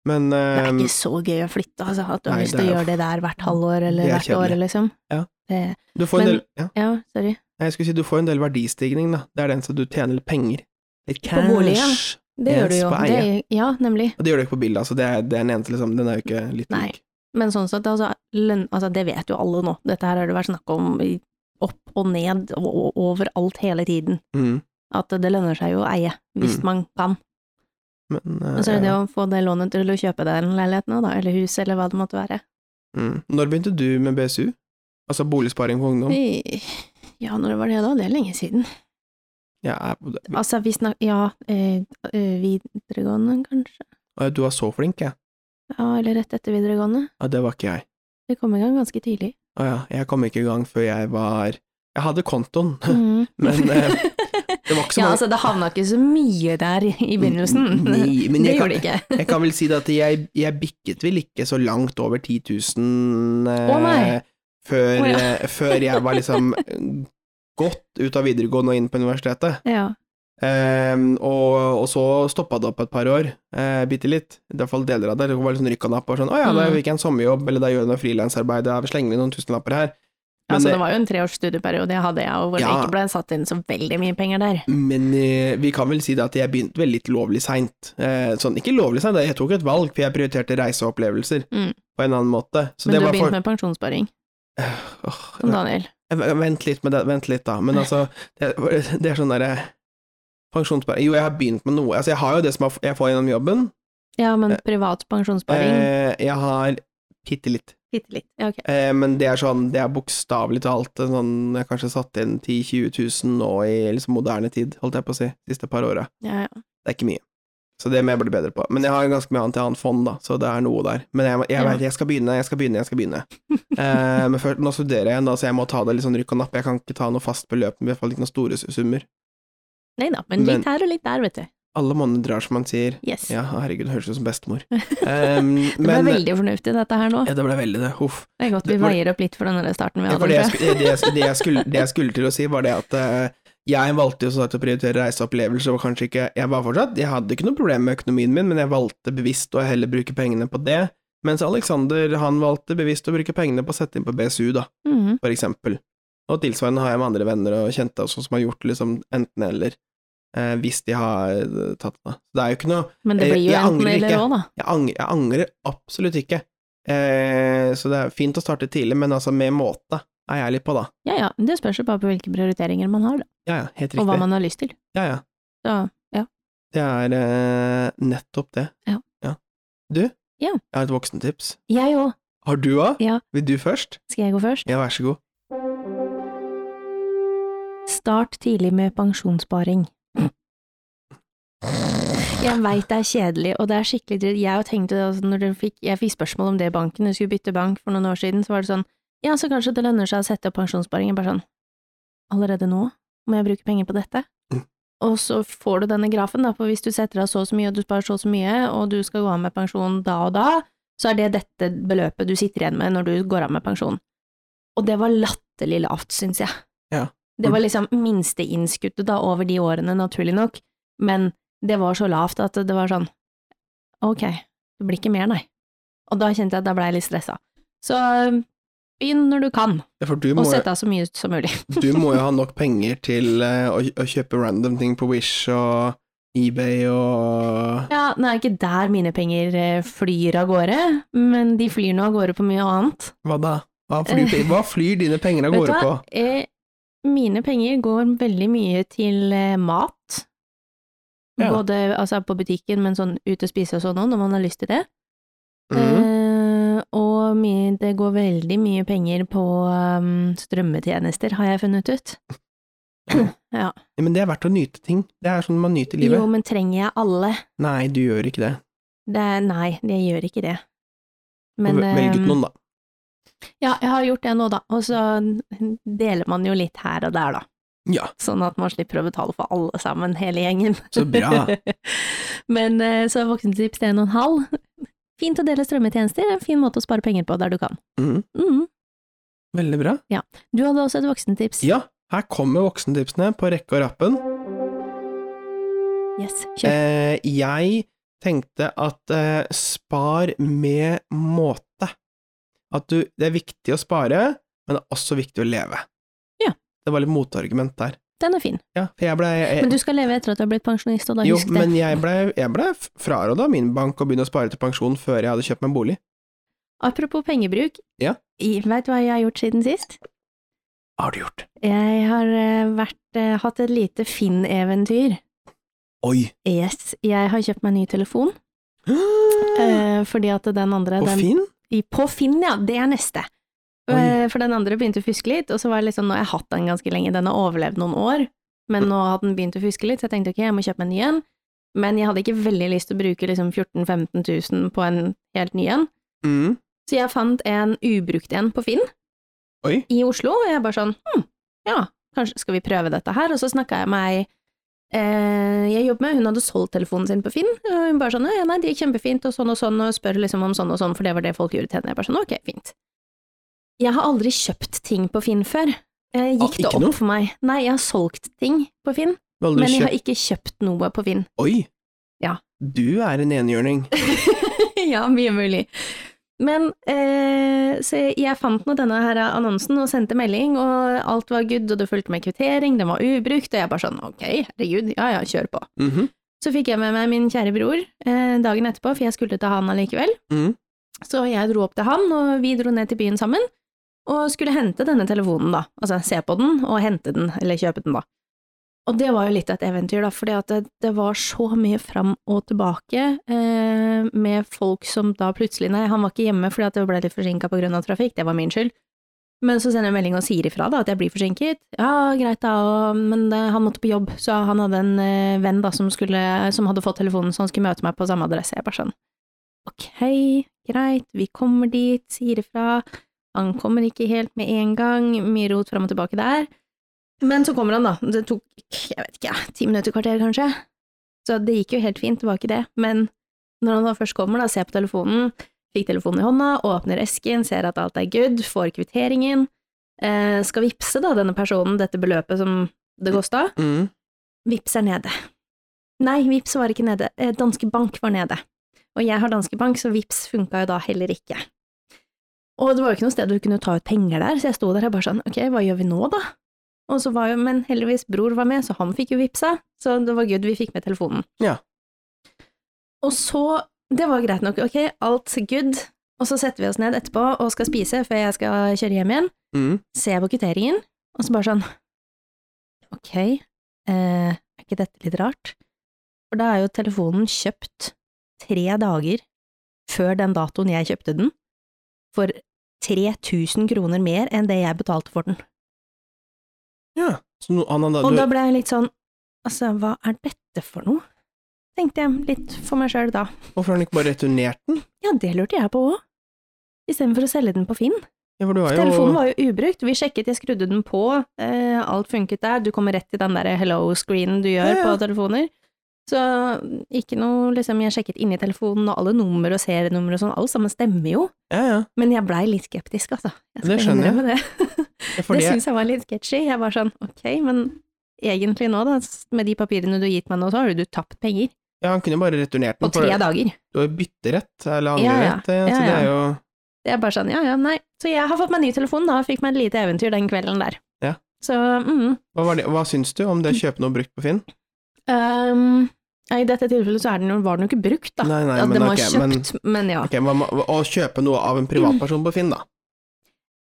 Speaker 2: Men
Speaker 1: Det er
Speaker 2: eh,
Speaker 1: ikke så gøy å flytte, altså, at du har
Speaker 2: Nei,
Speaker 1: lyst
Speaker 2: det
Speaker 1: til å
Speaker 2: er jo-
Speaker 1: gjøre det der hvert halvår
Speaker 2: Det
Speaker 1: eller
Speaker 2: er
Speaker 1: hvert år,
Speaker 2: kjedelig.
Speaker 1: liksom.
Speaker 2: Ja.
Speaker 1: Det,
Speaker 2: du får en
Speaker 1: men-
Speaker 2: del ja,
Speaker 1: ja, sorry.
Speaker 2: nei, jeg skulle si du får en del verdistigning, da. Det er den som du tjener litt penger. Litt cash.
Speaker 1: bolig, ja. Det
Speaker 2: Yes,
Speaker 1: gjør du jo.
Speaker 2: på
Speaker 1: Det, ja, nemlig.
Speaker 2: Og det gjør du ikke på bildet, altså. Det er, det er den eneste, liksom. Den er jo ikke litt
Speaker 1: Nei.
Speaker 2: lik.
Speaker 1: Men sånn sett, altså, lønn, altså det vet jo alle nå, dette her har det vært snakk om i- opp og ned og og overalt hele tiden,
Speaker 2: Mm.
Speaker 1: at det lønner seg jo å eie, hvis
Speaker 2: Mm.
Speaker 1: man kan.
Speaker 2: Men
Speaker 1: Og så er
Speaker 2: eh,
Speaker 1: det det å få det lånet til å kjøpe den leiligheten også da, eller huset, eller hva det måtte være.
Speaker 2: mm. Når begynte du med BSU? Altså boligsparing for ungdom?
Speaker 1: I- Ja, når var det da? Det er lenge siden.
Speaker 2: Ja, er,
Speaker 1: Altså, vi snak... Ja, eh, eh, videregående, kanskje?
Speaker 2: Å, du var så flink, jeg.
Speaker 1: Ja, eller rett etter videregående.
Speaker 2: Ja, det var ikke jeg.
Speaker 1: Vi kom i gang ganske tidlig.
Speaker 2: Å ja, jeg kom ikke i gang før jeg var Jeg hadde kontoen,
Speaker 1: Mm.
Speaker 2: men eh, det var ikke så
Speaker 1: ja,
Speaker 2: mange
Speaker 1: altså, det havna ikke så mye der i i begynnelsen.
Speaker 2: Nei, men
Speaker 1: det
Speaker 2: jeg kan,
Speaker 1: gjorde det ikke.
Speaker 2: Jeg kan vel si det at jeg, jeg bikket vel ikke så langt over 10 000 eh,
Speaker 1: Å, nei.
Speaker 2: før,
Speaker 1: Å, ja.
Speaker 2: eh, før jeg var liksom godt ut av videregående og inn på universitetet.
Speaker 1: Ja.
Speaker 2: Eh, og, og så stoppa det opp et par år, uh, bitte litt. I hvert fall deler av det. Det var litt sånn rykka napp. og Sånn, 'Å ja, da
Speaker 1: Mm.
Speaker 2: fikk jeg en sommerjobb', eller 'da gjør jeg noe frilansarbeid', 'da slenger vi noen tusenlapper her'. Men,
Speaker 1: Altså, det
Speaker 2: eh,
Speaker 1: var jo en treårs studieperiode jeg hadde, jeg, og hvor det
Speaker 2: Ja.
Speaker 1: ikke ble satt inn så veldig mye penger der.
Speaker 2: Men eh, vi kan vel si det at jeg begynte vel litt lovlig seint. Eh, sånn, ikke lovlig seint, jeg tok et valg, for jeg prioriterte reiseopplevelser
Speaker 1: Mm.
Speaker 2: på en annen måte. Så
Speaker 1: Men
Speaker 2: det
Speaker 1: du
Speaker 2: var
Speaker 1: begynte
Speaker 2: for...
Speaker 1: med pensjonssparing,
Speaker 2: Åh,
Speaker 1: som Daniel.
Speaker 2: Eh, Vent litt med det, vent litt da, men altså, det, det er sånn derre Pensjonssparing Jo, jeg har begynt med noe, altså jeg har jo det som jeg får gjennom jobben,
Speaker 1: Ja, men
Speaker 2: Eh,
Speaker 1: privat pensjonssparing
Speaker 2: eh, jeg har bitte litt
Speaker 1: Bitte litt. Ja, ok.
Speaker 2: Eh, men det er sånn, det er bokstavelig talt en sånn Jeg har kanskje satt inn 10 000-20 000 nå i liksom moderne tid, holdt jeg på å si, siste par åra.
Speaker 1: Ja, ja.
Speaker 2: Det er ikke mye. Så det må jeg bli bedre på. Men jeg har ganske mye annet i annet fond, da, så det er noe der. Men jeg, jeg,
Speaker 1: Ja.
Speaker 2: vet, jeg skal begynne, jeg skal begynne, jeg skal begynne. Eh, men først, nå studerer jeg igjen, da, så jeg må ta det litt sånn rykk og napp. Jeg kan ikke ta noe fast beløp, men i hvert fall ikke noen store summer.
Speaker 1: Nei da, men
Speaker 2: Men-
Speaker 1: litt her og litt der, vet du.
Speaker 2: Alle måneder drar, som man sier.
Speaker 1: Yes.
Speaker 2: Ja, herregud, det høres ut som bestemor. Um,
Speaker 1: Det ble veldig fornuftig, dette her nå.
Speaker 2: Ja, det ble veldig det. Huff.
Speaker 1: Det er godt vi
Speaker 2: det- var det-
Speaker 1: veier opp litt for den der starten vi
Speaker 2: Ja,
Speaker 1: hadde.
Speaker 2: for det, jeg,
Speaker 1: tror jeg.
Speaker 2: sku- det, jeg, sku- det, jeg skulle, det jeg skulle til å si, var det at eh, jeg valgte jo som sagt å prioritere reiseopplevelser, og kanskje ikke Jeg var fortsatt Jeg hadde ikke noe problem med økonomien min, men jeg valgte bevisst å heller bruke pengene på det. Mens Alexander, han valgte bevisst å bruke pengene på å sette inn på BSU, da,
Speaker 1: Mhm.
Speaker 2: for eksempel. Og tilsvarende har jeg med andre venner og kjente også som har gjort liksom enten eller, eh, hvis de har eh, tatt det. Det er jo ikke noe
Speaker 1: Men det
Speaker 2: Jeg-
Speaker 1: blir jo
Speaker 2: jeg
Speaker 1: enten
Speaker 2: angrer
Speaker 1: eller
Speaker 2: ikke.
Speaker 1: òg, da.
Speaker 2: jeg angrer, jeg angrer absolutt ikke. Eh, så det er fint å starte tidlig, men altså med måte er jeg litt på, da.
Speaker 1: Ja ja, det spørs jo bare på hvilke prioriteringer man har, da.
Speaker 2: Ja ja, helt
Speaker 1: Og hva
Speaker 2: riktig.
Speaker 1: man har lyst til.
Speaker 2: Ja ja.
Speaker 1: Så
Speaker 2: Det er eh, nettopp det.
Speaker 1: Ja.
Speaker 2: Du,
Speaker 1: Ja.
Speaker 2: jeg har et voksentips.
Speaker 1: jeg òg.
Speaker 2: Har du òg?
Speaker 1: Ja.
Speaker 2: Vil du først?
Speaker 1: Skal jeg gå først?
Speaker 2: Ja, vær så god.
Speaker 1: Start tidlig med pensjonssparing. Jeg veit det er kjedelig, og det er skikkelig dritt. Jeg har tenkt det også når dere fikk, jeg fikk spørsmål om det i banken, jeg skulle bytte bank for noen år siden, så var det sånn ja, så kanskje det lønner seg å sette opp pensjonssparing. Jeg bare sånn allerede nå må jeg bruke penger på dette?
Speaker 2: Mm.
Speaker 1: Og så får du denne grafen, da, på hvis du setter av så og så mye, og du sparer så og så mye, og du skal gå av med pensjon da og da, så er det dette beløpet du sitter igjen med når du går av med pensjon. Og det var latterlig lavt, syns jeg.
Speaker 2: Ja.
Speaker 1: Det var liksom minsteinnskuddet da over de årene, naturlig nok, men det var så lavt at det var sånn ok, det blir ikke mer, nei. Og da kjente jeg at da ble jeg litt stressa. Så øhm, begynn når du kan,
Speaker 2: Ja, for du må,
Speaker 1: og sett av så mye som mulig.
Speaker 2: du må jo ha nok penger til eh, å, å kjøpe random ting på Wish og eBay og
Speaker 1: Ja, nå er ikke der mine penger eh, flyr av gårde, men de flyr nå av gårde på mye annet.
Speaker 2: Hva da? Hva flyr, hva flyr dine penger av
Speaker 1: Vet du
Speaker 2: gårde på?
Speaker 1: hva? Eh, mine penger går veldig mye til eh, mat.
Speaker 2: Ja.
Speaker 1: Både altså, på butikken, men sånn ut og spise og sånn òg, når man har lyst til det.
Speaker 2: Mhm.
Speaker 1: Eh, og mi- det går veldig mye penger på um, strømmetjenester, har jeg funnet ut.
Speaker 2: Ja, men det er verdt å nyte ting. Det er sånn man nyter livet.
Speaker 1: Jo, men trenger jeg alle?
Speaker 2: Nei, du gjør ikke det.
Speaker 1: Det er, nei, jeg gjør ikke det. Men
Speaker 2: Vel- Velg ut
Speaker 1: eh,
Speaker 2: noen, da.
Speaker 1: Ja, jeg har gjort det nå, da. Og så deler man jo litt her og der, da.
Speaker 2: Ja,
Speaker 1: Sånn at man slipper å betale for alle sammen, hele gjengen.
Speaker 2: Så bra.
Speaker 1: Men eh, så voksentips til en og en halv. Fint å dele strømmetjenester, en fin måte å spare penger på der du kan.
Speaker 2: mhm,
Speaker 1: Mm.
Speaker 2: veldig bra.
Speaker 1: Du hadde også et voksentips.
Speaker 2: Ja, her kommer voksentipsene på rekke og rappen.
Speaker 1: Yes, kjør.
Speaker 2: Eh, jeg tenkte at eh, spar med måte. At du, det er viktig å spare, men det er også viktig å leve.
Speaker 1: Ja.
Speaker 2: Det var litt motargument der.
Speaker 1: Den er fin.
Speaker 2: Ja, for jeg blei
Speaker 1: Men du skal leve etter at du har blitt pensjonist, og da
Speaker 2: Eh, Jo,
Speaker 1: husk det.
Speaker 2: men jeg blei ble fraråda av min bank å begynne å spare til pensjon før jeg hadde kjøpt meg en bolig.
Speaker 1: Apropos pengebruk,
Speaker 2: Ja.
Speaker 1: veit du hva jeg har gjort siden sist?
Speaker 2: Har du gjort?
Speaker 1: Jeg har eh, vært, eh, hatt et lite Finn-eventyr.
Speaker 2: Oi!
Speaker 1: Yes, jeg har kjøpt meg en ny telefon,
Speaker 2: På
Speaker 1: eh, fordi at den andre den,
Speaker 2: Ah. Finn?
Speaker 1: I- På Finn, ja. Det er neste.
Speaker 2: Oi.
Speaker 1: Eh, For den andre begynte å fuske litt, og så var det liksom, nå har jeg hatt den ganske lenge, den har overlevd noen år,
Speaker 2: Mm.
Speaker 1: men nå har den begynt å fuske litt, så jeg tenkte ok, jeg må kjøpe en ny en. Men jeg hadde ikke veldig lyst til å bruke liksom 14 000-15 000 på en helt ny en,
Speaker 2: Mm.
Speaker 1: så jeg fant en ubrukt en på Finn
Speaker 2: Oi.
Speaker 1: i Oslo, og jeg bare sånn, hm, ja, kanskje skal vi prøve dette her, og så snakket jeg med ei eh, jeg jobber med, hun hadde solgt telefonen sin på Finn, og hun bare sånn, ja, nei, det gikk kjempefint, og sånn og sånn, og spør liksom om sånn og sånn, for det var det folk gjorde til henne, jeg bare sånn, ok, fint. Jeg har aldri kjøpt ting på Finn før, eh,
Speaker 2: Ah,
Speaker 1: gikk det
Speaker 2: ikke
Speaker 1: opp
Speaker 2: noe?
Speaker 1: for meg? Nei, jeg har solgt ting på Finn,
Speaker 2: Du har aldri
Speaker 1: men jeg
Speaker 2: kjøpt
Speaker 1: har ikke kjøpt noe på Finn.
Speaker 2: Oi!
Speaker 1: Ja.
Speaker 2: Du er en enhjørning.
Speaker 1: ja, mye mulig. Men eh, så jeg, jeg fant nå denne her annonsen og sendte melding, og alt var good, og det fulgte med kvittering, den var ubrukt, og jeg bare sånn ok, herregud, ja ja, kjør på.
Speaker 2: Mhm.
Speaker 1: Så fikk jeg med meg min kjære bror eh, dagen etterpå, for jeg skulle til han allikevel.
Speaker 2: Mhm.
Speaker 1: Så jeg dro opp til han, og vi dro ned til byen sammen, og skulle hente denne telefonen, da. Altså se på den, og hente den, eller kjøpe den, da. Og det var jo litt av et eventyr, da, fordi at det, det var så mye fram og tilbake eh, med folk som da plutselig Nei, han var ikke hjemme fordi at det ble litt forsinka på grunn av trafikk, det var min skyld. Men så sender jeg melding og sier ifra da, at jeg blir forsinket. Ja, greit da, og, men eh, han måtte på jobb, så han hadde en eh, venn da som, skulle, som hadde fått telefonen, så han skulle møte meg på samme adresse. Jeg bare sånn Ok, greit, vi kommer dit, sier ifra. Han kommer ikke helt med en gang, mye rot fram og tilbake der. Men så kommer han, da. Det tok jeg vet ikke, ti minutter, kvarter kanskje. Så det gikk jo helt fint, det var ikke det. Men når han da først kommer, da, ser på telefonen, fikk telefonen i hånda, åpner esken, ser at alt er good, får kvitteringen, eh, skal vippse da denne personen dette beløpet som det kosta.
Speaker 2: Mm.
Speaker 1: Vips er nede. Nei, Vips var ikke nede. Eh, Danske Bank var nede. Og jeg har Danske Bank, så Vips funka jo da heller ikke. Og det var jo ikke noe sted du kunne ta ut penger der, så jeg sto der og bare sånn, ok, hva gjør vi nå, da? Og så var jo, men heldigvis bror var med, så han fikk jo Vipsa, så det var good vi fikk med telefonen.
Speaker 2: Ja.
Speaker 1: Og så, det var greit nok, ok, alt good, og så setter vi oss ned etterpå og skal spise før jeg skal kjøre hjem igjen
Speaker 2: Mm.
Speaker 1: ser jeg på kvitteringen, og så bare sånn Ok, eh, er ikke dette litt rart? For da er jo telefonen kjøpt tre dager før den datoen jeg kjøpte den, for 3000 kroner mer enn det jeg betalte for den.
Speaker 2: ja. Så no, han, hadde-
Speaker 1: Og
Speaker 2: du,
Speaker 1: da ble jeg litt sånn Altså, hva er dette for noe? Tenkte jeg litt for meg sjøl da.
Speaker 2: Hvorfor har han ikke bare returnert den?
Speaker 1: Ja, det lurte jeg på òg. Istedenfor å selge den på Finn.
Speaker 2: Ja, for du har jo
Speaker 1: Telefonen var jo ubrukt. Vi sjekket, jeg skrudde den på, eh, alt funket der. Du kommer rett til den der hello-screenen du gjør
Speaker 2: Ja, ja.
Speaker 1: på telefoner. Så ikke noe liksom, Jeg sjekket inni telefonen, og alle nummer og serienummer og sånn, alt sammen stemmer jo.
Speaker 2: Ja, ja.
Speaker 1: Men jeg blei litt skeptisk, altså. Jeg
Speaker 2: Det skjønner jeg.
Speaker 1: innrømme Det,
Speaker 2: Ja, for
Speaker 1: det
Speaker 2: det-
Speaker 1: syns jeg var litt sketchy. Jeg var sånn, ok, men egentlig nå, da, med de papirene du har gitt meg nå, så har jo du tapt penger.
Speaker 2: ja, han kunne jo bare returnert den.
Speaker 1: På tre
Speaker 2: for
Speaker 1: dager.
Speaker 2: Du har jo bytterett, eller
Speaker 1: Ja, ja.
Speaker 2: angrerett, ja,
Speaker 1: Ja,
Speaker 2: eh, så det
Speaker 1: ja.
Speaker 2: er jo
Speaker 1: Det er bare sånn, ja ja, nei. Så jeg har fått meg ny telefon, da, og fikk meg et lite eventyr den kvelden der.
Speaker 2: Ja.
Speaker 1: Så mm.
Speaker 2: Hva, var det, hva syns du om det å kjøpe noe brukt på Finn?
Speaker 1: Ehm, ja, I dette tilfellet så er den jo, var den jo ikke brukt, da.
Speaker 2: Nei, nei,
Speaker 1: ja, den
Speaker 2: men
Speaker 1: var
Speaker 2: ok, men
Speaker 1: kjøpt, men, ja.
Speaker 2: ok, hva, må- Å kjøpe noe av en privatperson på Finn, da.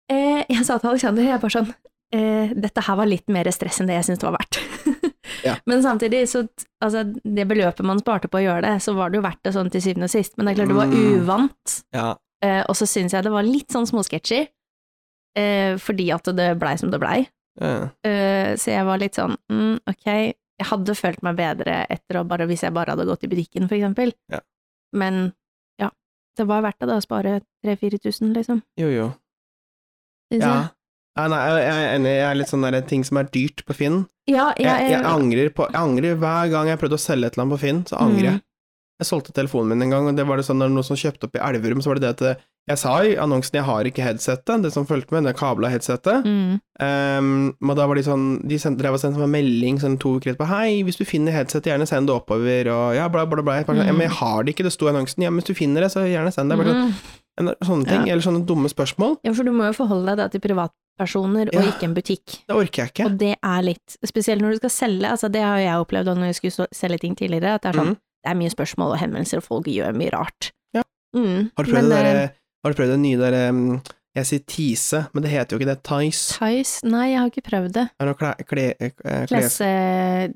Speaker 1: Eh, jeg sa til Alexander, jeg bare sånn eh, Dette her var litt mer stress enn det jeg syntes det var verdt.
Speaker 2: Ja.
Speaker 1: Men samtidig, så t- altså, det beløpet man sparte på å gjøre det, så var det jo verdt det sånn til syvende og sist. Men det er klart det var
Speaker 2: Mm.
Speaker 1: uvant,
Speaker 2: Ja.
Speaker 1: eh, og så syns jeg det var litt sånn småsketsjy, eh, fordi at det blei som det blei.
Speaker 2: ja.
Speaker 1: Eh, så jeg var litt sånn mm, ok, jeg hadde følt meg bedre etter å bare, hvis jeg bare hadde gått i butikken, for eksempel.
Speaker 2: Ja.
Speaker 1: Men ja, det var verdt det da å spare 3000-4000, liksom.
Speaker 2: Jo, jo.
Speaker 1: synes
Speaker 2: Ja.
Speaker 1: jeg.
Speaker 2: Ja, nei, jeg jeg er enig, jeg er litt sånn der ting som er dyrt på Finn.
Speaker 1: Ja,
Speaker 2: Jeg,
Speaker 1: jeg, Mm.
Speaker 2: jeg, angrer på jeg angrer hver gang jeg prøvde å selge et eller annet på Finn, så angrer jeg. Jeg solgte telefonen min en gang, og det var det sånn når noen som kjøpte opp i Elverum, så var det det at det- jeg sa i annonsen jeg har ikke headsetet, det som fulgte med, det kabla headsetet.
Speaker 1: Mm.
Speaker 2: Um, men da var de sånn De sendte, drev og sendte meg melding sånn to uker etterpå 'Hei, hvis du finner headset, gjerne send det oppover', og ja, bla, bla, bla. Jeg bare sånn,
Speaker 1: Mm.
Speaker 2: ja, men jeg har det ikke, det sto i annonsen. Ja, men hvis du finner det, så gjerne send det. Bare sånn,
Speaker 1: Mm.
Speaker 2: en- sånne ting.
Speaker 1: Ja.
Speaker 2: Eller sånne dumme spørsmål.
Speaker 1: Ja, for du må jo forholde deg da til privatpersoner og
Speaker 2: Ja.
Speaker 1: ikke en butikk.
Speaker 2: Det orker jeg ikke.
Speaker 1: Og det er litt Spesielt når du skal selge, altså det har jo jeg opplevd da når jeg skulle så- selge ting tidligere, at det er sånn
Speaker 2: Mhm.
Speaker 1: Det er mye spørsmål og henvendelser, og folk gjør mye rart.
Speaker 2: Ja.
Speaker 1: Mm.
Speaker 2: Har du prøvd
Speaker 1: Men,
Speaker 2: det
Speaker 1: eh,
Speaker 2: derre Har du prøvd det nye derre um, Jeg sier Tise, men det heter jo ikke det. Tice.
Speaker 1: Tice? Nei, jeg har ikke prøvd det.
Speaker 2: Er det noe kle- kle- eh, Klesfinn
Speaker 1: Klesse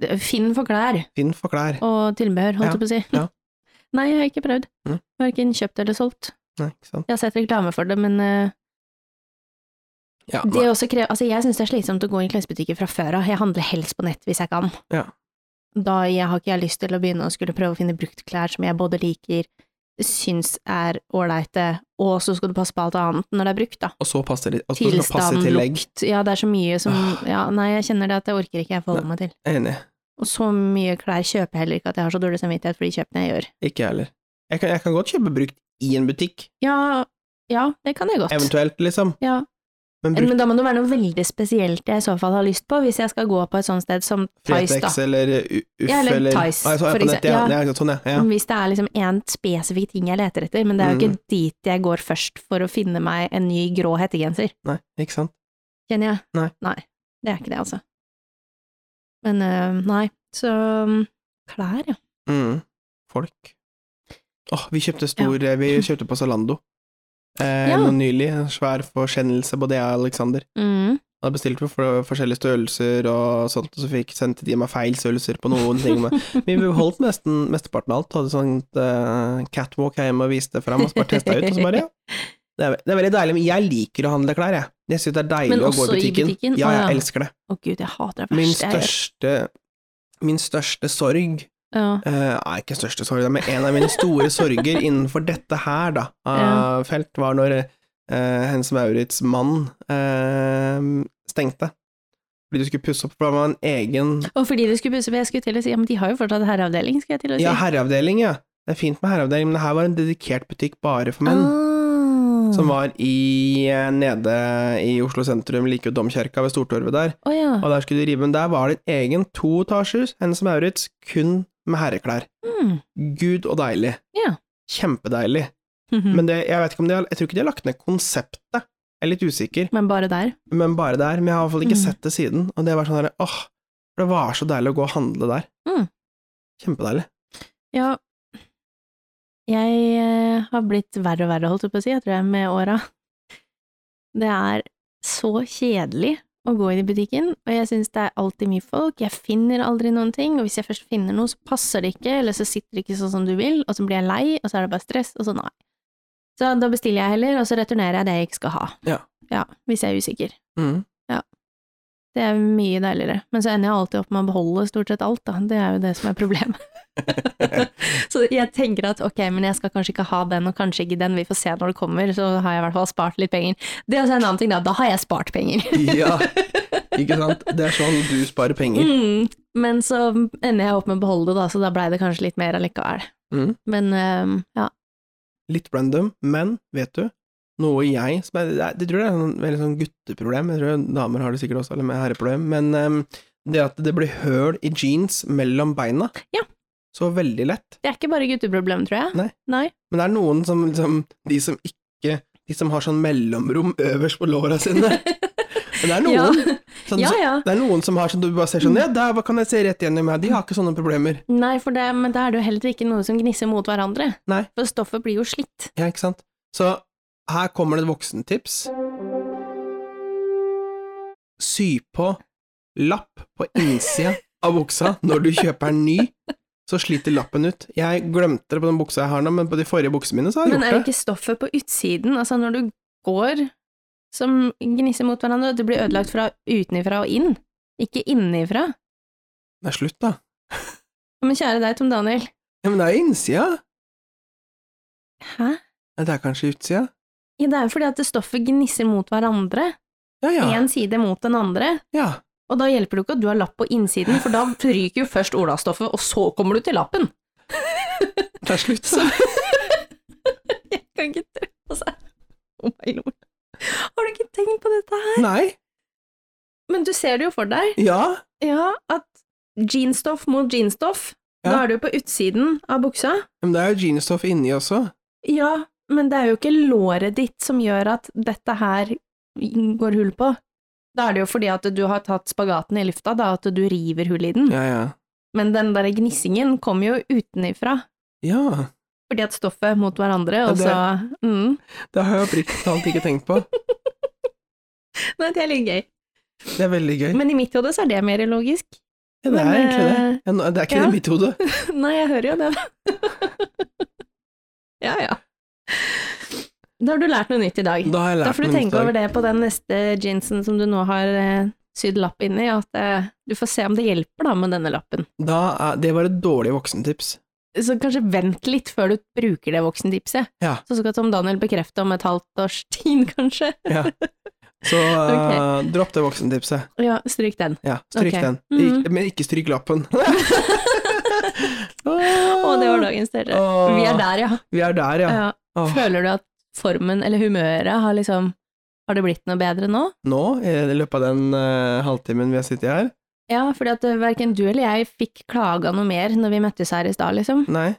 Speaker 1: eh, Finn for klær
Speaker 2: for klær.
Speaker 1: og tilbehør, holdt
Speaker 2: Ja,
Speaker 1: jeg på å si.
Speaker 2: ja.
Speaker 1: Nei, jeg har ikke prøvd.
Speaker 2: Mm.
Speaker 1: Verken kjøpt eller solgt.
Speaker 2: Nei, ikke sant.
Speaker 1: Jeg har sett reklame for det, men eh,
Speaker 2: Ja,
Speaker 1: det også krever Altså, jeg syns det er slitsomt å gå i klesbutikker fra før av. Jeg handler helst på nett hvis jeg kan.
Speaker 2: Ja.
Speaker 1: Da jeg har ikke jeg lyst til å begynne å skulle prøve å finne bruktklær som jeg både liker, syns er ålreite, og så skal du passe på alt annet når det er brukt, da.
Speaker 2: og så passer det og så Altså, skal det passe
Speaker 1: Tilstand,
Speaker 2: i tillegg.
Speaker 1: lukt Ja, det er så mye som
Speaker 2: Ah.
Speaker 1: Ja, nei, jeg kjenner det at det orker ikke jeg forholde meg til.
Speaker 2: Enig.
Speaker 1: Og så mye klær kjøper jeg heller ikke at jeg har så dårlig samvittighet for de kjøpene jeg gjør.
Speaker 2: Ikke jeg heller. Jeg kan, jeg kan godt kjøpe brukt i en butikk,
Speaker 1: Ja, ja det kan jeg godt.
Speaker 2: eventuelt, liksom.
Speaker 1: Ja.
Speaker 2: Men brukt
Speaker 1: Men da må det være noe veldig spesielt jeg i så fall har lyst på, hvis jeg skal gå på et sånt sted som Tice,
Speaker 2: Fretex
Speaker 1: da.
Speaker 2: eller U- Uff
Speaker 1: Ja, eller
Speaker 2: eller
Speaker 1: Tice,
Speaker 2: Ah, jeg så jeg
Speaker 1: for
Speaker 2: på nett, ja.
Speaker 1: eksempel.
Speaker 2: Ja. ja, sånn, ja. Mm. ja.
Speaker 1: Hvis det er liksom én spesifikk ting jeg leter etter, men det er jo ikke dit jeg går først for å finne meg en ny grå hettegenser,
Speaker 2: Nei, ikke sant.
Speaker 1: kjenner jeg.
Speaker 2: Nei.
Speaker 1: det er ikke det, altså. Men øh, nei, så mm, klær, ja.
Speaker 2: Mm. Folk. Åh, vi kjøpte stor Vi kjøpte på Zalando eh,
Speaker 1: Ja.
Speaker 2: nå nylig. En svær forskjennelse på det jeg og Alexander.
Speaker 1: Mm.
Speaker 2: Jeg hadde bestilt på for- forskjellige størrelser og sånt, og så fikk sendte de meg feil størrelser på noen ting. Men vi beholdt nesten mesteparten av alt. Hadde sånt eh, catwalk her hjemme og viste det fram, og så bare testa ut, og så bare ja. Det er, ve- det er veldig deilig, men jeg liker å handle klær, jeg. Jeg syns det er deilig
Speaker 1: Men
Speaker 2: å gå i
Speaker 1: også i
Speaker 2: butikken.
Speaker 1: butikken?
Speaker 2: Ja,
Speaker 1: Å,
Speaker 2: jeg
Speaker 1: ja.
Speaker 2: elsker det.
Speaker 1: Å gud, jeg hater det verst.
Speaker 2: Min
Speaker 1: Jeg-
Speaker 2: største, min største sorg
Speaker 1: ja.
Speaker 2: eh, er ikke største sorg, da, men en av mine store sorger innenfor dette her, da, av felt, var når uh, Hennes Maurits mann eh, stengte. Fordi du skulle pusse opp, for det var en egen
Speaker 1: Og fordi du skulle pusse på, jeg skulle til å si, ja, men de har jo fortsatt herreavdeling, skulle jeg til å si.
Speaker 2: Ja, herreavdeling, ja. Det er fint med herreavdeling, men det her var en dedikert butikk bare for menn.
Speaker 1: Ah.
Speaker 2: Som var i, eh, nede i Oslo sentrum, like ved Domkirka, ved Stortorvet der.
Speaker 1: Å ja.
Speaker 2: Og der skulle de rive, men der var det en egen toetasjers Hennes Maurits, kun med herreklær.
Speaker 1: Mm.
Speaker 2: Gud og deilig.
Speaker 1: Ja.
Speaker 2: Kjempedeilig.
Speaker 1: Mm.
Speaker 2: Men det, jeg, vet ikke om de har, jeg tror ikke de har lagt ned konseptet. Jeg er litt usikker,
Speaker 1: Men bare der.
Speaker 2: men bare der. Men jeg har i hvert fall ikke
Speaker 1: Mm.
Speaker 2: sett det siden. Og det var sånn derre åh, for det var så deilig å gå og handle der.
Speaker 1: Mm.
Speaker 2: Kjempedeilig.
Speaker 1: Ja. Jeg eh, har blitt verre og verre, holdt jeg på å si, jeg tror jeg, med åra. Det er så kjedelig å gå inn i butikken, og jeg syns det er alltid mye folk, jeg finner aldri noen ting, og hvis jeg først finner noe, så passer det ikke, eller så sitter det ikke sånn som du vil, og så blir jeg lei, og så er det bare stress, og så nei. Så da bestiller jeg heller, og så returnerer jeg det jeg ikke skal ha.
Speaker 2: Ja.
Speaker 1: Ja, hvis jeg er usikker.
Speaker 2: Mm.
Speaker 1: Det er mye deiligere. Men så ender jeg alltid opp med å beholde stort sett alt, da. Det er jo det som er problemet. så jeg tenker at ok, men jeg skal kanskje ikke ha den, og kanskje ikke den, vi får se når det kommer, så har jeg i hvert fall spart litt penger. Det er også en annen ting, da. Da har jeg spart penger.
Speaker 2: Ja, ikke sant? Det er sånn du sparer penger.
Speaker 1: Mm. Men så ender jeg opp med å beholde det, da, så da blei det kanskje litt mer allikevel.
Speaker 2: Mm.
Speaker 1: Men øhm, ja.
Speaker 2: Litt random, men vet du, noe jeg som er, det er- Jeg tror det er et veldig sånn gutteproblem, jeg tror damer har det sikkert også, eller med herreproblem, men em, det at det blir høl i jeans mellom beina,
Speaker 1: Ja.
Speaker 2: så veldig lett.
Speaker 1: Det er ikke bare gutteproblem, tror jeg.
Speaker 2: Nei. Men det er noen som liksom De som ikke De som har sånn mellomrom øverst på låra sine. Men det er
Speaker 1: Ja.
Speaker 2: noen. Sånn,
Speaker 1: ja,
Speaker 2: så-
Speaker 1: ja.
Speaker 2: Det er noen som har sånn du bare ser sånn Ja, der kan jeg se rett gjennom her. De har ikke sånne problemer.
Speaker 1: Nei, for det, men da er det jo heller ikke noe som gnisser mot hverandre.
Speaker 2: Nei.
Speaker 1: For stoffet blir jo slitt.
Speaker 2: Ja, ikke sant? Så her kommer det et voksentips. Sy på lapp på innsida av buksa når du kjøper en ny. Så sliter lappen ut. Jeg glemte det på den buksa jeg har nå, men på de forrige buksene mine så har jeg
Speaker 1: Men er det
Speaker 2: gjort det.
Speaker 1: ikke stoffet på utsiden, altså når du går, som gnisser mot hverandre? Det blir ødelagt fra utenifra og inn, ikke innifra.
Speaker 2: Det er slutt, da.
Speaker 1: Men kjære deg, Tom Daniel.
Speaker 2: Ja, men det er jo innsida.
Speaker 1: Hæ?
Speaker 2: Ja, Det er kanskje utsida.
Speaker 1: Ja, det er jo fordi at stoffet gnisser mot hverandre,
Speaker 2: Ja, ja.
Speaker 1: én side mot den andre,
Speaker 2: Ja,
Speaker 1: og da hjelper det jo ikke at du har lapp på innsiden, for da ryker jo først olastoffet, og så kommer du til lappen.
Speaker 2: det er slutt.
Speaker 1: Så- Jeg kan ikke tro altså. Oh my lord. Har du ikke tenkt på dette her?
Speaker 2: Nei.
Speaker 1: Men du ser det jo for deg.
Speaker 2: Ja.
Speaker 1: Ja, at jeansstoff mot jeansstoff.
Speaker 2: Ja.
Speaker 1: Da er du på utsiden av buksa.
Speaker 2: Men det er jo jeansstoff inni også.
Speaker 1: Ja, men det er jo ikke låret ditt som gjør at dette her går hull på. Da er det jo fordi at du har tatt spagaten i lufta, da at du river hull i den.
Speaker 2: Ja, ja.
Speaker 1: Men den der gnissingen kommer jo utenifra,
Speaker 2: Ja.
Speaker 1: fordi at stoffet mot hverandre, og
Speaker 2: det-
Speaker 1: så mm.
Speaker 2: Det har jeg oppriktig talt ikke tenkt på.
Speaker 1: Nei, det er litt gøy.
Speaker 2: Det er veldig gøy.
Speaker 1: Men i mitt hode så er det mer logisk.
Speaker 2: Ja, det er
Speaker 1: men,
Speaker 2: egentlig det.
Speaker 1: eh,
Speaker 2: Ja, nå- det er ikke
Speaker 1: ja.
Speaker 2: det i mitt hode.
Speaker 1: Nei, jeg hører jo det. ja, ja. Da har du lært noe nytt i dag.
Speaker 2: Da har jeg
Speaker 1: Da
Speaker 2: lært
Speaker 1: får du
Speaker 2: noe nytt i
Speaker 1: tenke
Speaker 2: dag.
Speaker 1: over det på den neste jeansen som du nå har eh, sydd lapp inni, at eh, du får se om det hjelper da med denne lappen.
Speaker 2: Da er, det var et dårlig voksentips.
Speaker 1: Så kanskje vent litt før du bruker det voksentipset.
Speaker 2: Ja.
Speaker 1: Så skal Tom Daniel bekrefte om et halvt års tid, kanskje.
Speaker 2: Ja. Så eh, dropp det voksentipset.
Speaker 1: Ja, stryk den.
Speaker 2: Ja, stryk
Speaker 1: Ok.
Speaker 2: den.
Speaker 1: Mhm.
Speaker 2: Ik men ikke stryk lappen.
Speaker 1: Og det var dagens dere. Vi er der, ja.
Speaker 2: Vi er der, ja.
Speaker 1: ja.
Speaker 2: Åh.
Speaker 1: Føler du at formen eller humøret har liksom Har det blitt noe bedre nå?
Speaker 2: Nå, i løpet av den eh, halvtimen vi har sittet her
Speaker 1: Ja, fordi at eh, verken du eller jeg fikk klaga noe mer når vi møttes her i stad, liksom.
Speaker 2: Nei,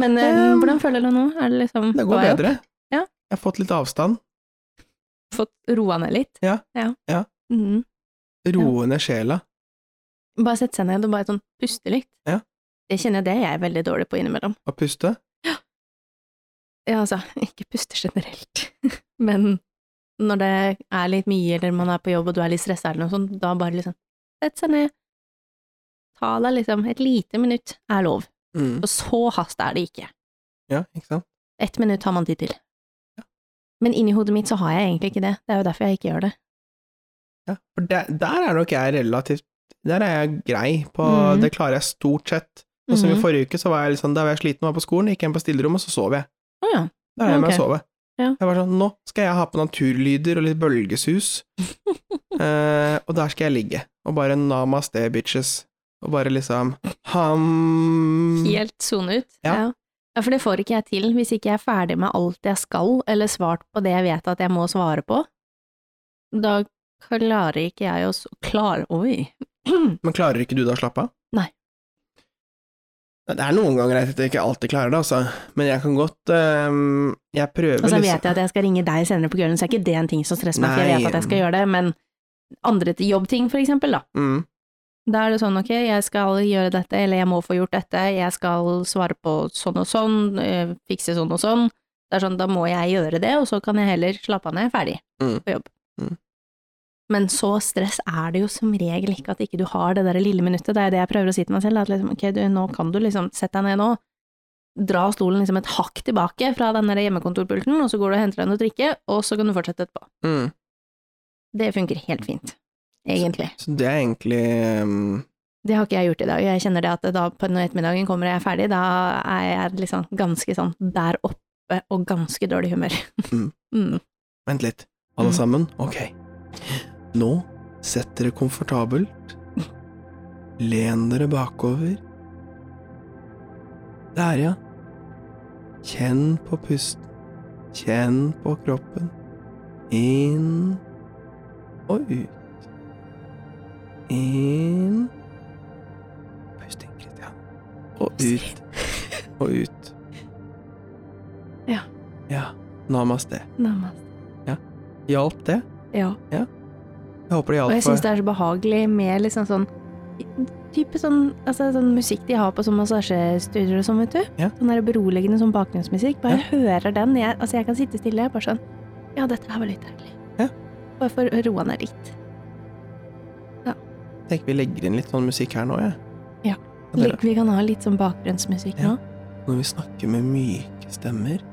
Speaker 1: Men eh,
Speaker 2: Mm.
Speaker 1: hvordan føler du nå? Er det liksom
Speaker 2: det
Speaker 1: på
Speaker 2: går
Speaker 1: vei opp?
Speaker 2: bedre.
Speaker 1: Ja.
Speaker 2: Jeg har fått litt avstand.
Speaker 1: Fått roa ned litt?
Speaker 2: Ja.
Speaker 1: ja.
Speaker 2: Ja.
Speaker 1: Mm.
Speaker 2: Roe ned sjela.
Speaker 1: Bare sette seg ned og bare sånn puste litt.
Speaker 2: Ja.
Speaker 1: Det kjenner jeg det er jeg veldig dårlig på innimellom.
Speaker 2: Å puste.
Speaker 1: Ja, altså, ikke puste generelt, men når det er litt mye, eller man er på jobb og du er litt stressa eller noe sånt, da bare liksom sett seg ned, ta deg liksom et lite minutt er lov,
Speaker 2: Mm.
Speaker 1: og så hast er det ikke.
Speaker 2: Ja, ikke sant?
Speaker 1: Ett minutt har man tid til. Men inni hodet mitt så har jeg egentlig ikke det, det er jo derfor jeg ikke gjør det.
Speaker 2: Ja, for der, der er nok jeg relativt Der er jeg grei på
Speaker 1: Mhm.
Speaker 2: Det klarer jeg stort sett. Sånn som
Speaker 1: Mhm.
Speaker 2: i forrige uke, så var jeg litt sånn, da var jeg sliten og var på skolen, gikk hjem på stillerommet, og så sov jeg.
Speaker 1: Å ja.
Speaker 2: Da er jeg med
Speaker 1: Ok.
Speaker 2: å sove.
Speaker 1: Ja.
Speaker 2: Jeg var sånn, nå skal jeg ha på naturlyder og litt bølgesus, eh, og der skal jeg ligge, og bare namaste, bitches, og bare liksom, ham...
Speaker 1: Helt sone ut.
Speaker 2: Mm. Ja.
Speaker 1: Ja. ja, for det får ikke jeg til hvis ikke jeg er ferdig med alt jeg skal, eller svart på det jeg vet at jeg må svare på. Da klarer ikke jeg å s- Klar... Oi.
Speaker 2: Men klarer ikke du da å slappe av?
Speaker 1: Nei.
Speaker 2: Nei, Det er noen ganger jeg ikke alltid klarer det, altså, men jeg kan godt, eh, jeg prøver
Speaker 1: Og så
Speaker 2: liksom-
Speaker 1: Altså, vet jeg at jeg skal ringe deg senere på kvelden, så er ikke det en ting som stresser meg, for jeg
Speaker 2: Nei.
Speaker 1: vet at jeg skal gjøre det, men andre til jobbting, for eksempel, da.
Speaker 2: Mm,
Speaker 1: Da er det sånn, ok, jeg skal gjøre dette, eller jeg må få gjort dette, jeg skal svare på sånn og sånn, eh, fikse sånn og sånn. Det er sånn, da må jeg gjøre det, og så kan jeg heller slappe av når jeg er ferdig
Speaker 2: Mm.
Speaker 1: på jobb.
Speaker 2: Mm.
Speaker 1: Men så stress er det jo som regel ikke at ikke du har det der lille minuttet, det er det jeg prøver å si til meg selv, at liksom, ok, du, nå kan du liksom, sett deg ned nå, dra stolen liksom et hakk tilbake fra den der hjemmekontorpulten, og så går du og henter deg noe å drikke, og så kan du fortsette etterpå.
Speaker 2: mm.
Speaker 1: Det funker helt fint, egentlig.
Speaker 2: Så det er egentlig um,
Speaker 1: Det har ikke jeg gjort i dag. Jeg kjenner det at da på når ettermiddagen kommer og jeg er ferdig, da er jeg liksom ganske sånn der oppe og ganske dårlig humør.
Speaker 2: Mm.
Speaker 1: Mm.
Speaker 2: Vent litt, alle
Speaker 1: Mm.
Speaker 2: sammen. Ok. Nå sett dere komfortabelt. Len dere bakover. Der, ja. Kjenn på pusten. Kjenn på kroppen. Inn og ut. Inn Pust inn, Christian. Og ut og ut.
Speaker 1: Ja.
Speaker 2: Ja. Namaste.
Speaker 1: Nærmest.
Speaker 2: Hjalp det?
Speaker 1: Ja.
Speaker 2: Jeg håper
Speaker 1: Og
Speaker 2: det hjalp
Speaker 1: jeg syns det
Speaker 2: for
Speaker 1: er så behagelig med liksom sånn type sånn, altså, sånn musikk de har på sånn massasjestudioer og sånn, vet du.
Speaker 2: Ja.
Speaker 1: Sånn der beroligende sånn bakgrunnsmusikk. Bare jeg hører den. Jeg, altså, jeg kan sitte stille og bare sånn Ja, dette her var litt deilig.
Speaker 2: Ja.
Speaker 1: Bare for å roe ned litt.
Speaker 2: Jeg tenker vi legger inn litt sånn musikk her nå, jeg.
Speaker 1: Ja.
Speaker 2: Og dere-
Speaker 1: Litt- Vi kan ha litt sånn bakgrunnsmusikk
Speaker 2: Ja.
Speaker 1: nå.
Speaker 2: Når vi snakker med myke stemmer,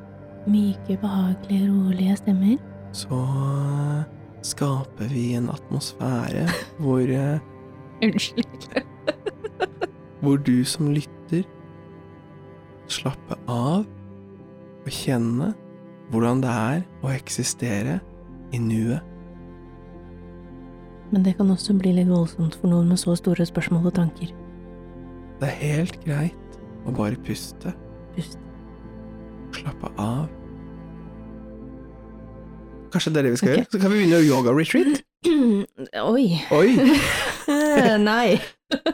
Speaker 1: Myke, behagelige, rolige stemmer.
Speaker 2: så eh, skaper vi en atmosfære hvor, eh,
Speaker 1: Unnskyld.
Speaker 2: hvor du som lytter slapper av og kjenner hvordan det er å eksistere i nuet.
Speaker 1: Men det kan også bli litt voldsomt for noen med så store spørsmål og tanker.
Speaker 2: Det er helt greit å bare puste,
Speaker 1: Pust.
Speaker 2: slappe av. Kanskje det er det vi skal
Speaker 1: Ok.
Speaker 2: gjøre? Så kan vi begynne yoga-retreat?
Speaker 1: Oi.
Speaker 2: Oi!
Speaker 1: Nei.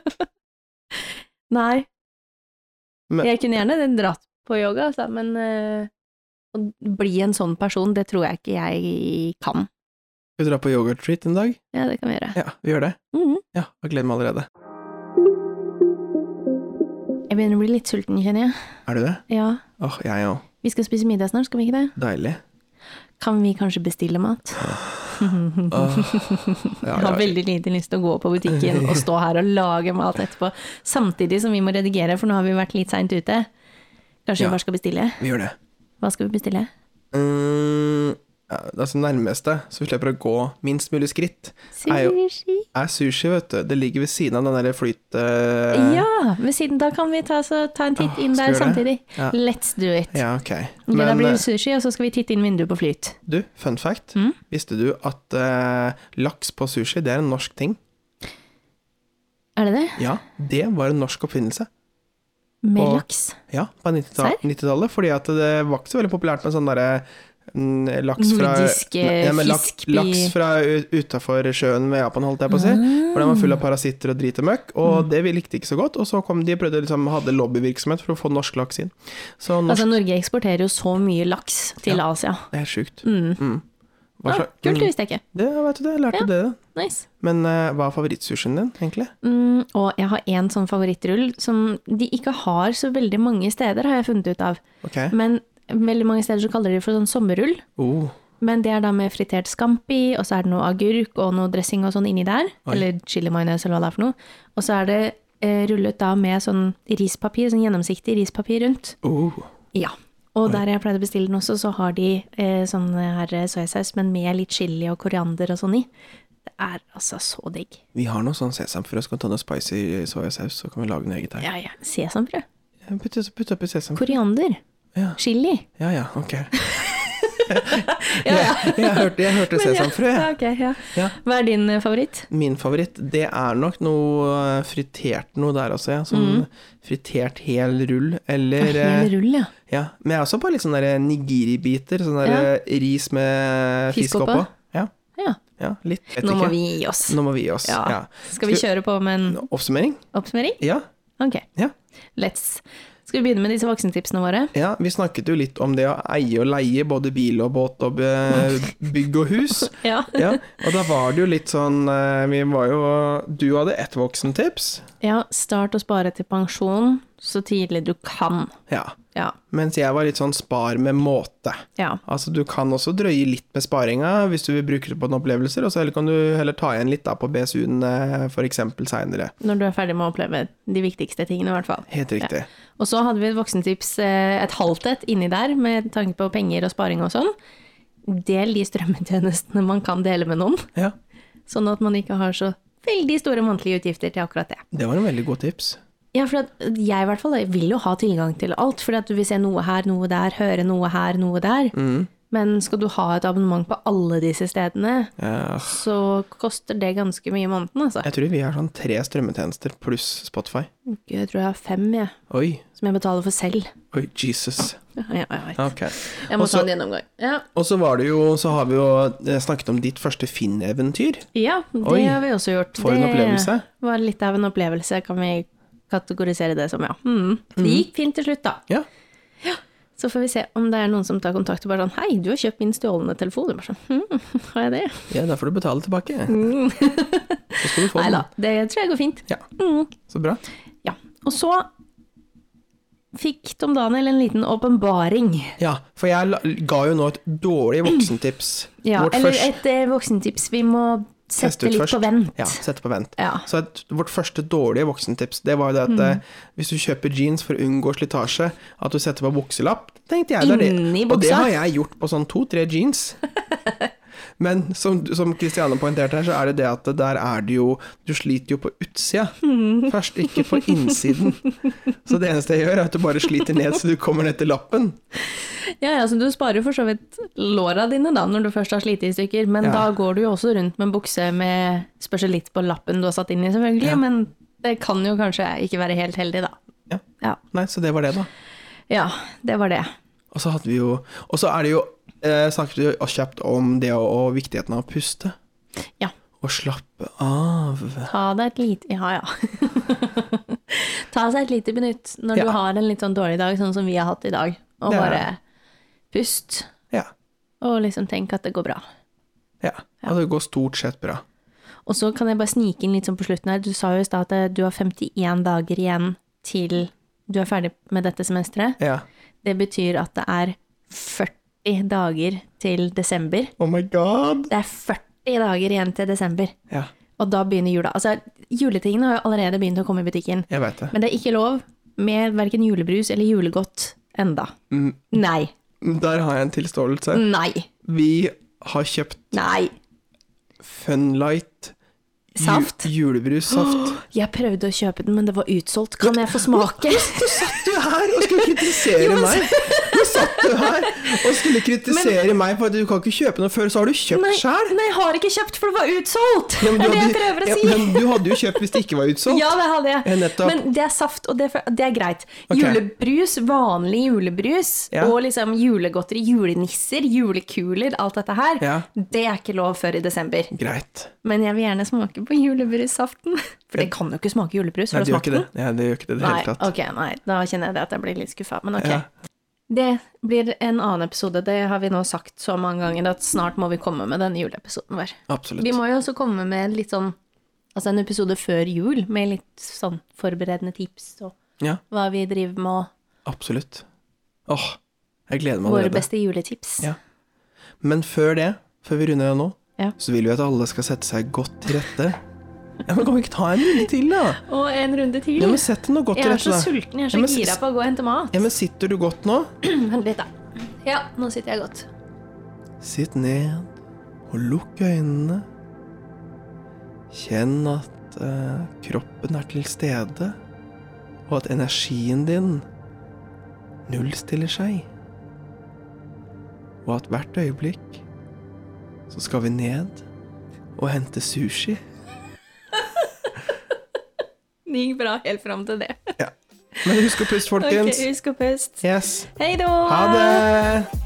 Speaker 1: Nei.
Speaker 2: Men-
Speaker 1: Jeg kunne gjerne dratt på yoga, altså, men eh, å bli en sånn person, det tror jeg ikke jeg kan.
Speaker 2: Skal vi dra på yoga-retreat en dag?
Speaker 1: Ja, det kan vi gjøre.
Speaker 2: Ja, vi gjør det.
Speaker 1: Mhm.
Speaker 2: Ja, jeg gleder meg allerede.
Speaker 1: Jeg begynner å bli litt sulten, kjenner jeg.
Speaker 2: Er du det?
Speaker 1: Ja.
Speaker 2: Åh, jeg òg.
Speaker 1: Vi skal spise middag snart, skal vi ikke det?
Speaker 2: Deilig.
Speaker 1: Kan vi kanskje bestille mat?
Speaker 2: Åh, ja,
Speaker 1: Jeg har
Speaker 2: ja.
Speaker 1: veldig lite lyst til å gå på butikken og stå her og lage mat etterpå. Samtidig som vi må redigere, for nå har vi vært litt seint ute. Kanskje
Speaker 2: Ja.
Speaker 1: vi bare skal bestille?
Speaker 2: Vi gjør det.
Speaker 1: Hva skal vi bestille?
Speaker 2: Mm, ja, altså nærmeste, så vi slipper å gå minst mulig skritt, Er jo-
Speaker 1: Sushi.
Speaker 2: er sushi, vet du. Det ligger ved siden av den derre flyt... eh,
Speaker 1: Ja, ved siden da kan vi ta, så, ta en titt
Speaker 2: Åh,
Speaker 1: inn
Speaker 2: skal
Speaker 1: der
Speaker 2: vi
Speaker 1: samtidig.
Speaker 2: Ja.
Speaker 1: Let's do it.
Speaker 2: ja, ok.
Speaker 1: Ok, da
Speaker 2: Men
Speaker 1: blir
Speaker 2: eh,
Speaker 1: det sushi, og så skal vi titte inn vinduet på Flyt.
Speaker 2: du, fun fact.
Speaker 1: Mm.
Speaker 2: Visste du at eh, laks på sushi, det er en norsk ting?
Speaker 1: Er det det?
Speaker 2: Ja, det var en norsk oppfinnelse.
Speaker 1: Med
Speaker 2: Og-
Speaker 1: laks.
Speaker 2: Ja, på 90-tall- 90-tallet. fordi at det var ikke så veldig populært med sånn derre mm, laks fra
Speaker 1: Nordisk, eh,
Speaker 2: Nei, men laks,
Speaker 1: fisk i-
Speaker 2: laks fra utafor sjøen ved Japan, holdt jeg på
Speaker 1: Ah.
Speaker 2: å si. For den var full av parasitter og drit og møkk, og
Speaker 1: Mm.
Speaker 2: det vi likte ikke så godt. Og så kom de og prøvde liksom, hadde lobbyvirksomhet for å få norsk laks inn. Så norsk
Speaker 1: Altså, Norge eksporterer jo så mye laks til Asia.
Speaker 2: Det er helt sjukt.
Speaker 1: Mm.
Speaker 2: Mm. Hva
Speaker 1: Ah,
Speaker 2: slags-
Speaker 1: kult, det
Speaker 2: mm,
Speaker 1: visste jeg ikke.
Speaker 2: det vet du det, jeg lærte
Speaker 1: Ja.
Speaker 2: det. da.
Speaker 1: Nice.
Speaker 2: Men eh, hva er favorittsushien din, egentlig?
Speaker 1: Mm, og jeg har en sånn favorittrull som de ikke har så veldig mange steder, har jeg funnet ut av.
Speaker 2: Ok.
Speaker 1: Men veldig mange steder så kaller de det for sånn sommerrull.
Speaker 2: Oh,
Speaker 1: Men det er da med fritert scampi, og så er det noe agurk og noe dressing og sånn inni der.
Speaker 2: Oi.
Speaker 1: Eller chili majones eller hva det er for noe. Og så er det eh, rullet da med sånn rispapir, sånn gjennomsiktig rispapir rundt.
Speaker 2: Oh.
Speaker 1: Ja. Og
Speaker 2: Oi.
Speaker 1: der jeg pleide å bestille den også, så har de eh, sånn her eh, soyasaus, men med litt chili og koriander og sånn i. Det er altså så digg.
Speaker 2: Vi har noe sånn sesamfrø, så kan vi ta noe spicy soyasaus, så kan vi lage noe eget her.
Speaker 1: Ja, sånn, ja. Sesamfrø.
Speaker 2: Putt, putt oppi sesamfrø.
Speaker 1: Koriander.
Speaker 2: Ja.
Speaker 1: Chili.
Speaker 2: ja ja, ok.
Speaker 1: Ja, ja.
Speaker 2: Jeg hørte, jeg hørte
Speaker 1: Men ja,
Speaker 2: sesamfrø, jeg.
Speaker 1: ja, ok, ja.
Speaker 2: Ja.
Speaker 1: Hva er din eh, favoritt?
Speaker 2: Min favoritt, det er nok noe eh, fritert noe der også, ja. Sånn fritert hel rull, eller eh,
Speaker 1: Hel rull, Mm. ja.
Speaker 2: Ja, men jeg er også på litt sånne der eh, nigiri-biter. Sånn der eh, ris med eh, fisk
Speaker 1: Fisk oppå.
Speaker 2: oppå. Ja.
Speaker 1: Ja.
Speaker 2: ja, litt. Vet
Speaker 1: Nå må
Speaker 2: ikke.
Speaker 1: vi gi oss.
Speaker 2: Nå må vi gi oss.
Speaker 1: Ja.
Speaker 2: Ja.
Speaker 1: Skal vi kjøre på med en
Speaker 2: Oppsummering?
Speaker 1: oppsummering?
Speaker 2: Ja.
Speaker 1: Ok,
Speaker 2: Ja.
Speaker 1: let's. Skal vi begynne med disse voksentipsene våre?
Speaker 2: ja. Vi snakket jo litt om det å eie og leie både bil og båt og eh, bygg og hus.
Speaker 1: Ja.
Speaker 2: Ja, og da var det jo litt sånn eh, Vi var jo Du hadde ett voksentips.
Speaker 1: ja. Start å spare til pensjon så tidlig du kan.
Speaker 2: Ja.
Speaker 1: Ja.
Speaker 2: Mens jeg var litt sånn spar med måte.
Speaker 1: ja.
Speaker 2: Altså, du kan også drøye litt med sparinga hvis du vil bruke det på en opplevelser, og så heller kan du heller ta igjen litt da på BSU-en eh, for eksempel seinere.
Speaker 1: Når du er ferdig med å oppleve de viktigste tingene, i hvert fall.
Speaker 2: Helt riktig.
Speaker 1: Og så hadde vi et voksentips, eh, et halvt et, inni der, med tanke på penger og sparing og sånn. Del de strømmetjenestene man kan dele med noen,
Speaker 2: Ja.
Speaker 1: sånn at man ikke har så veldig store månedlige utgifter til akkurat det.
Speaker 2: Det var en veldig god tips.
Speaker 1: Ja, for at jeg i hvert fall jeg vil jo ha tilgang til alt, for at du vil se noe her, noe der, høre noe her, noe der.
Speaker 2: Mm.
Speaker 1: Men skal du ha et abonnement på alle disse stedene,
Speaker 2: Ja,
Speaker 1: så koster det ganske mye i måneden, altså.
Speaker 2: Eh, jeg tror vi har sånn tre strømmetjenester pluss Spotify.
Speaker 1: Jeg tror jeg har fem, jeg,
Speaker 2: Oi.
Speaker 1: som jeg betaler for selv.
Speaker 2: Oi, Jesus.
Speaker 1: Ja, jeg, vet.
Speaker 2: Ok.
Speaker 1: jeg må
Speaker 2: Og så-
Speaker 1: ta en gjennomgang. Ja,
Speaker 2: Og så var det jo Så har vi jo eh, snakket om ditt første Finn-eventyr.
Speaker 1: ja det
Speaker 2: Oi,
Speaker 1: har vi også gjort.
Speaker 2: for en opplevelse.
Speaker 1: Det var litt av en opplevelse, kan vi kategorisere det som, ja. Mm. Det gikk fint til slutt, da.
Speaker 2: Ja.
Speaker 1: Så får vi se om det er noen som tar kontakt og bare sånn Hei, du har kjøpt min stjålne telefon. Jeg bare sånn Hm, har jeg det?
Speaker 2: Ja, da får du betale tilbake.
Speaker 1: Mm.
Speaker 2: Så skal du få
Speaker 1: Nei
Speaker 2: den.
Speaker 1: da, det tror jeg går fint.
Speaker 2: Ja.
Speaker 1: Mm.
Speaker 2: Så bra.
Speaker 1: Ja. Og så fikk Tom Daniel en liten åpenbaring.
Speaker 2: Ja, for jeg la- ga jo nå et dårlig voksentips.
Speaker 1: Ja,
Speaker 2: Vårt
Speaker 1: eller
Speaker 2: først-
Speaker 1: et eh, voksentips. Vi må
Speaker 2: Teste
Speaker 1: sette
Speaker 2: ut
Speaker 1: litt
Speaker 2: først.
Speaker 1: på vent.
Speaker 2: Ja, sette på vent.
Speaker 1: Ja.
Speaker 2: Så et, vårt første dårlige voksentips, det var jo det
Speaker 1: Mm.
Speaker 2: at eh, hvis du kjøper jeans for å unngå slitasje, at du setter på bukselapp, tenkte jeg det er det.
Speaker 1: Inni
Speaker 2: Og det
Speaker 1: buksa?
Speaker 2: har jeg gjort på sånn to-tre jeans. Men som, som Kristiane poengterte her, så er det det at der er det jo Du sliter jo på utsida
Speaker 1: Mm.
Speaker 2: først, ikke på innsiden. Så det eneste jeg gjør, er at du bare sliter ned så du kommer ned til lappen.
Speaker 1: Ja, ja, så du sparer for så vidt låra dine da, når du først har slitt i stykker, men
Speaker 2: Ja.
Speaker 1: da går du jo også rundt med en bukse med spørs det litt på lappen du har satt inn i, selvfølgelig,
Speaker 2: Ja.
Speaker 1: men det kan jo kanskje ikke være helt heldig, da.
Speaker 2: Ja.
Speaker 1: Ja,
Speaker 2: Nei, så det var det, da.
Speaker 1: ja det var det.
Speaker 2: Og så hadde vi jo Og så er det jo eh, Snakket vi jo kjapt om det og, og viktigheten av å puste.
Speaker 1: Ja.
Speaker 2: Og slappe av.
Speaker 1: Ta deg et lite Ja, ja. Ta seg et lite minutt når
Speaker 2: Ja.
Speaker 1: du har en litt sånn dårlig dag, sånn som vi har hatt i dag, og
Speaker 2: Det er-
Speaker 1: bare pust,
Speaker 2: Ja.
Speaker 1: og liksom tenk at det går bra.
Speaker 2: ja. Og det går stort sett bra.
Speaker 1: Og så kan jeg bare snike inn litt sånn på slutten her. Du sa jo i stad at eh, du har 51 dager igjen til du er ferdig med dette semesteret.
Speaker 2: Ja.
Speaker 1: Det betyr at det er 40 dager til desember.
Speaker 2: Oh my god!
Speaker 1: Det er 40 dager igjen til desember,
Speaker 2: Ja,
Speaker 1: og da begynner jula. Altså, juletingene har jo allerede begynt å komme i butikken,
Speaker 2: jeg veit det.
Speaker 1: men det er ikke lov med verken julebrus eller julegodt enda.
Speaker 2: Mm.
Speaker 1: Nei.
Speaker 2: Der har jeg en tilståelse.
Speaker 1: Nei.
Speaker 2: Vi har kjøpt
Speaker 1: Nei.
Speaker 2: Funlight ju-
Speaker 1: Saft?
Speaker 2: julebrussaft.
Speaker 1: Jeg prøvde å kjøpe den, men det var utsolgt. Kan jeg få smake?
Speaker 2: Du satt jo her og skulle kritisere meg! Du satt jo her og skulle kritisere meg for at du kan ikke kjøpe noe før, så har du
Speaker 1: Nei,
Speaker 2: kjøpt sjæl!
Speaker 1: nei, jeg har ikke kjøpt, for det var utsolgt!
Speaker 2: Ja, men
Speaker 1: det er
Speaker 2: du
Speaker 1: det jeg
Speaker 2: hadde-
Speaker 1: prøver å
Speaker 2: ja,
Speaker 1: si. Ja,
Speaker 2: Men du hadde jo kjøpt hvis det ikke var utsolgt.
Speaker 1: det hadde
Speaker 2: Ja,
Speaker 1: jeg.
Speaker 2: nettopp.
Speaker 1: Men det er saft, og det er, det er greit.
Speaker 2: Ok.
Speaker 1: Julebrus, vanlig julebrus,
Speaker 2: Ja.
Speaker 1: og liksom julegodteri, julenisser, julekuler, alt dette her,
Speaker 2: Ja.
Speaker 1: det er ikke lov før i desember.
Speaker 2: Greit.
Speaker 1: Men jeg vil gjerne smake på julebrusaften. For det kan jo ikke smake julebrus.
Speaker 2: Nei,
Speaker 1: Har
Speaker 2: det
Speaker 1: du
Speaker 2: gjør
Speaker 1: smakt
Speaker 2: ikke det.
Speaker 1: den?
Speaker 2: Nei, det gjør ikke det i det
Speaker 1: Nei,
Speaker 2: hele tatt.
Speaker 1: ok, nei, da kjenner jeg det at jeg blir litt skuffa, men ok.
Speaker 2: Ja.
Speaker 1: Det blir en annen episode, det har vi nå sagt så mange ganger at snart må vi komme med denne juleepisoden vår.
Speaker 2: Absolutt.
Speaker 1: Vi må jo også komme med litt sånn Altså en episode før jul med litt sånn forberedende tips og
Speaker 2: Ja,
Speaker 1: hva vi driver med og
Speaker 2: absolutt. Åh, jeg gleder meg
Speaker 1: våre
Speaker 2: allerede.
Speaker 1: beste juletips.
Speaker 2: Ja. Men før det, før vi runder av nå,
Speaker 1: Ja.
Speaker 2: så vil vi at alle skal sette seg godt til rette. Ja, men kan vi ikke ta en runde til, da?
Speaker 1: Og en runde til.
Speaker 2: Ja, men sett deg nå godt
Speaker 1: jeg
Speaker 2: til
Speaker 1: er så
Speaker 2: rette, da.
Speaker 1: sulten, jeg er
Speaker 2: Ja,
Speaker 1: så
Speaker 2: men s-
Speaker 1: gira på å gå og hente mat.
Speaker 2: Ja, men sitter du godt nå?
Speaker 1: Vent litt, da. Ja, nå sitter jeg godt.
Speaker 2: Sitt ned og lukk øynene. Kjenn at eh, kroppen er til stede, og at energien din nullstiller seg. Og at hvert øyeblikk så skal vi ned og hente sushi.
Speaker 1: Det gikk bra helt fram til det.
Speaker 2: Men husk å puste,
Speaker 1: Ok,
Speaker 2: folkens.
Speaker 1: husk å puste.
Speaker 2: Yes.
Speaker 1: Hei da!
Speaker 2: Ha det!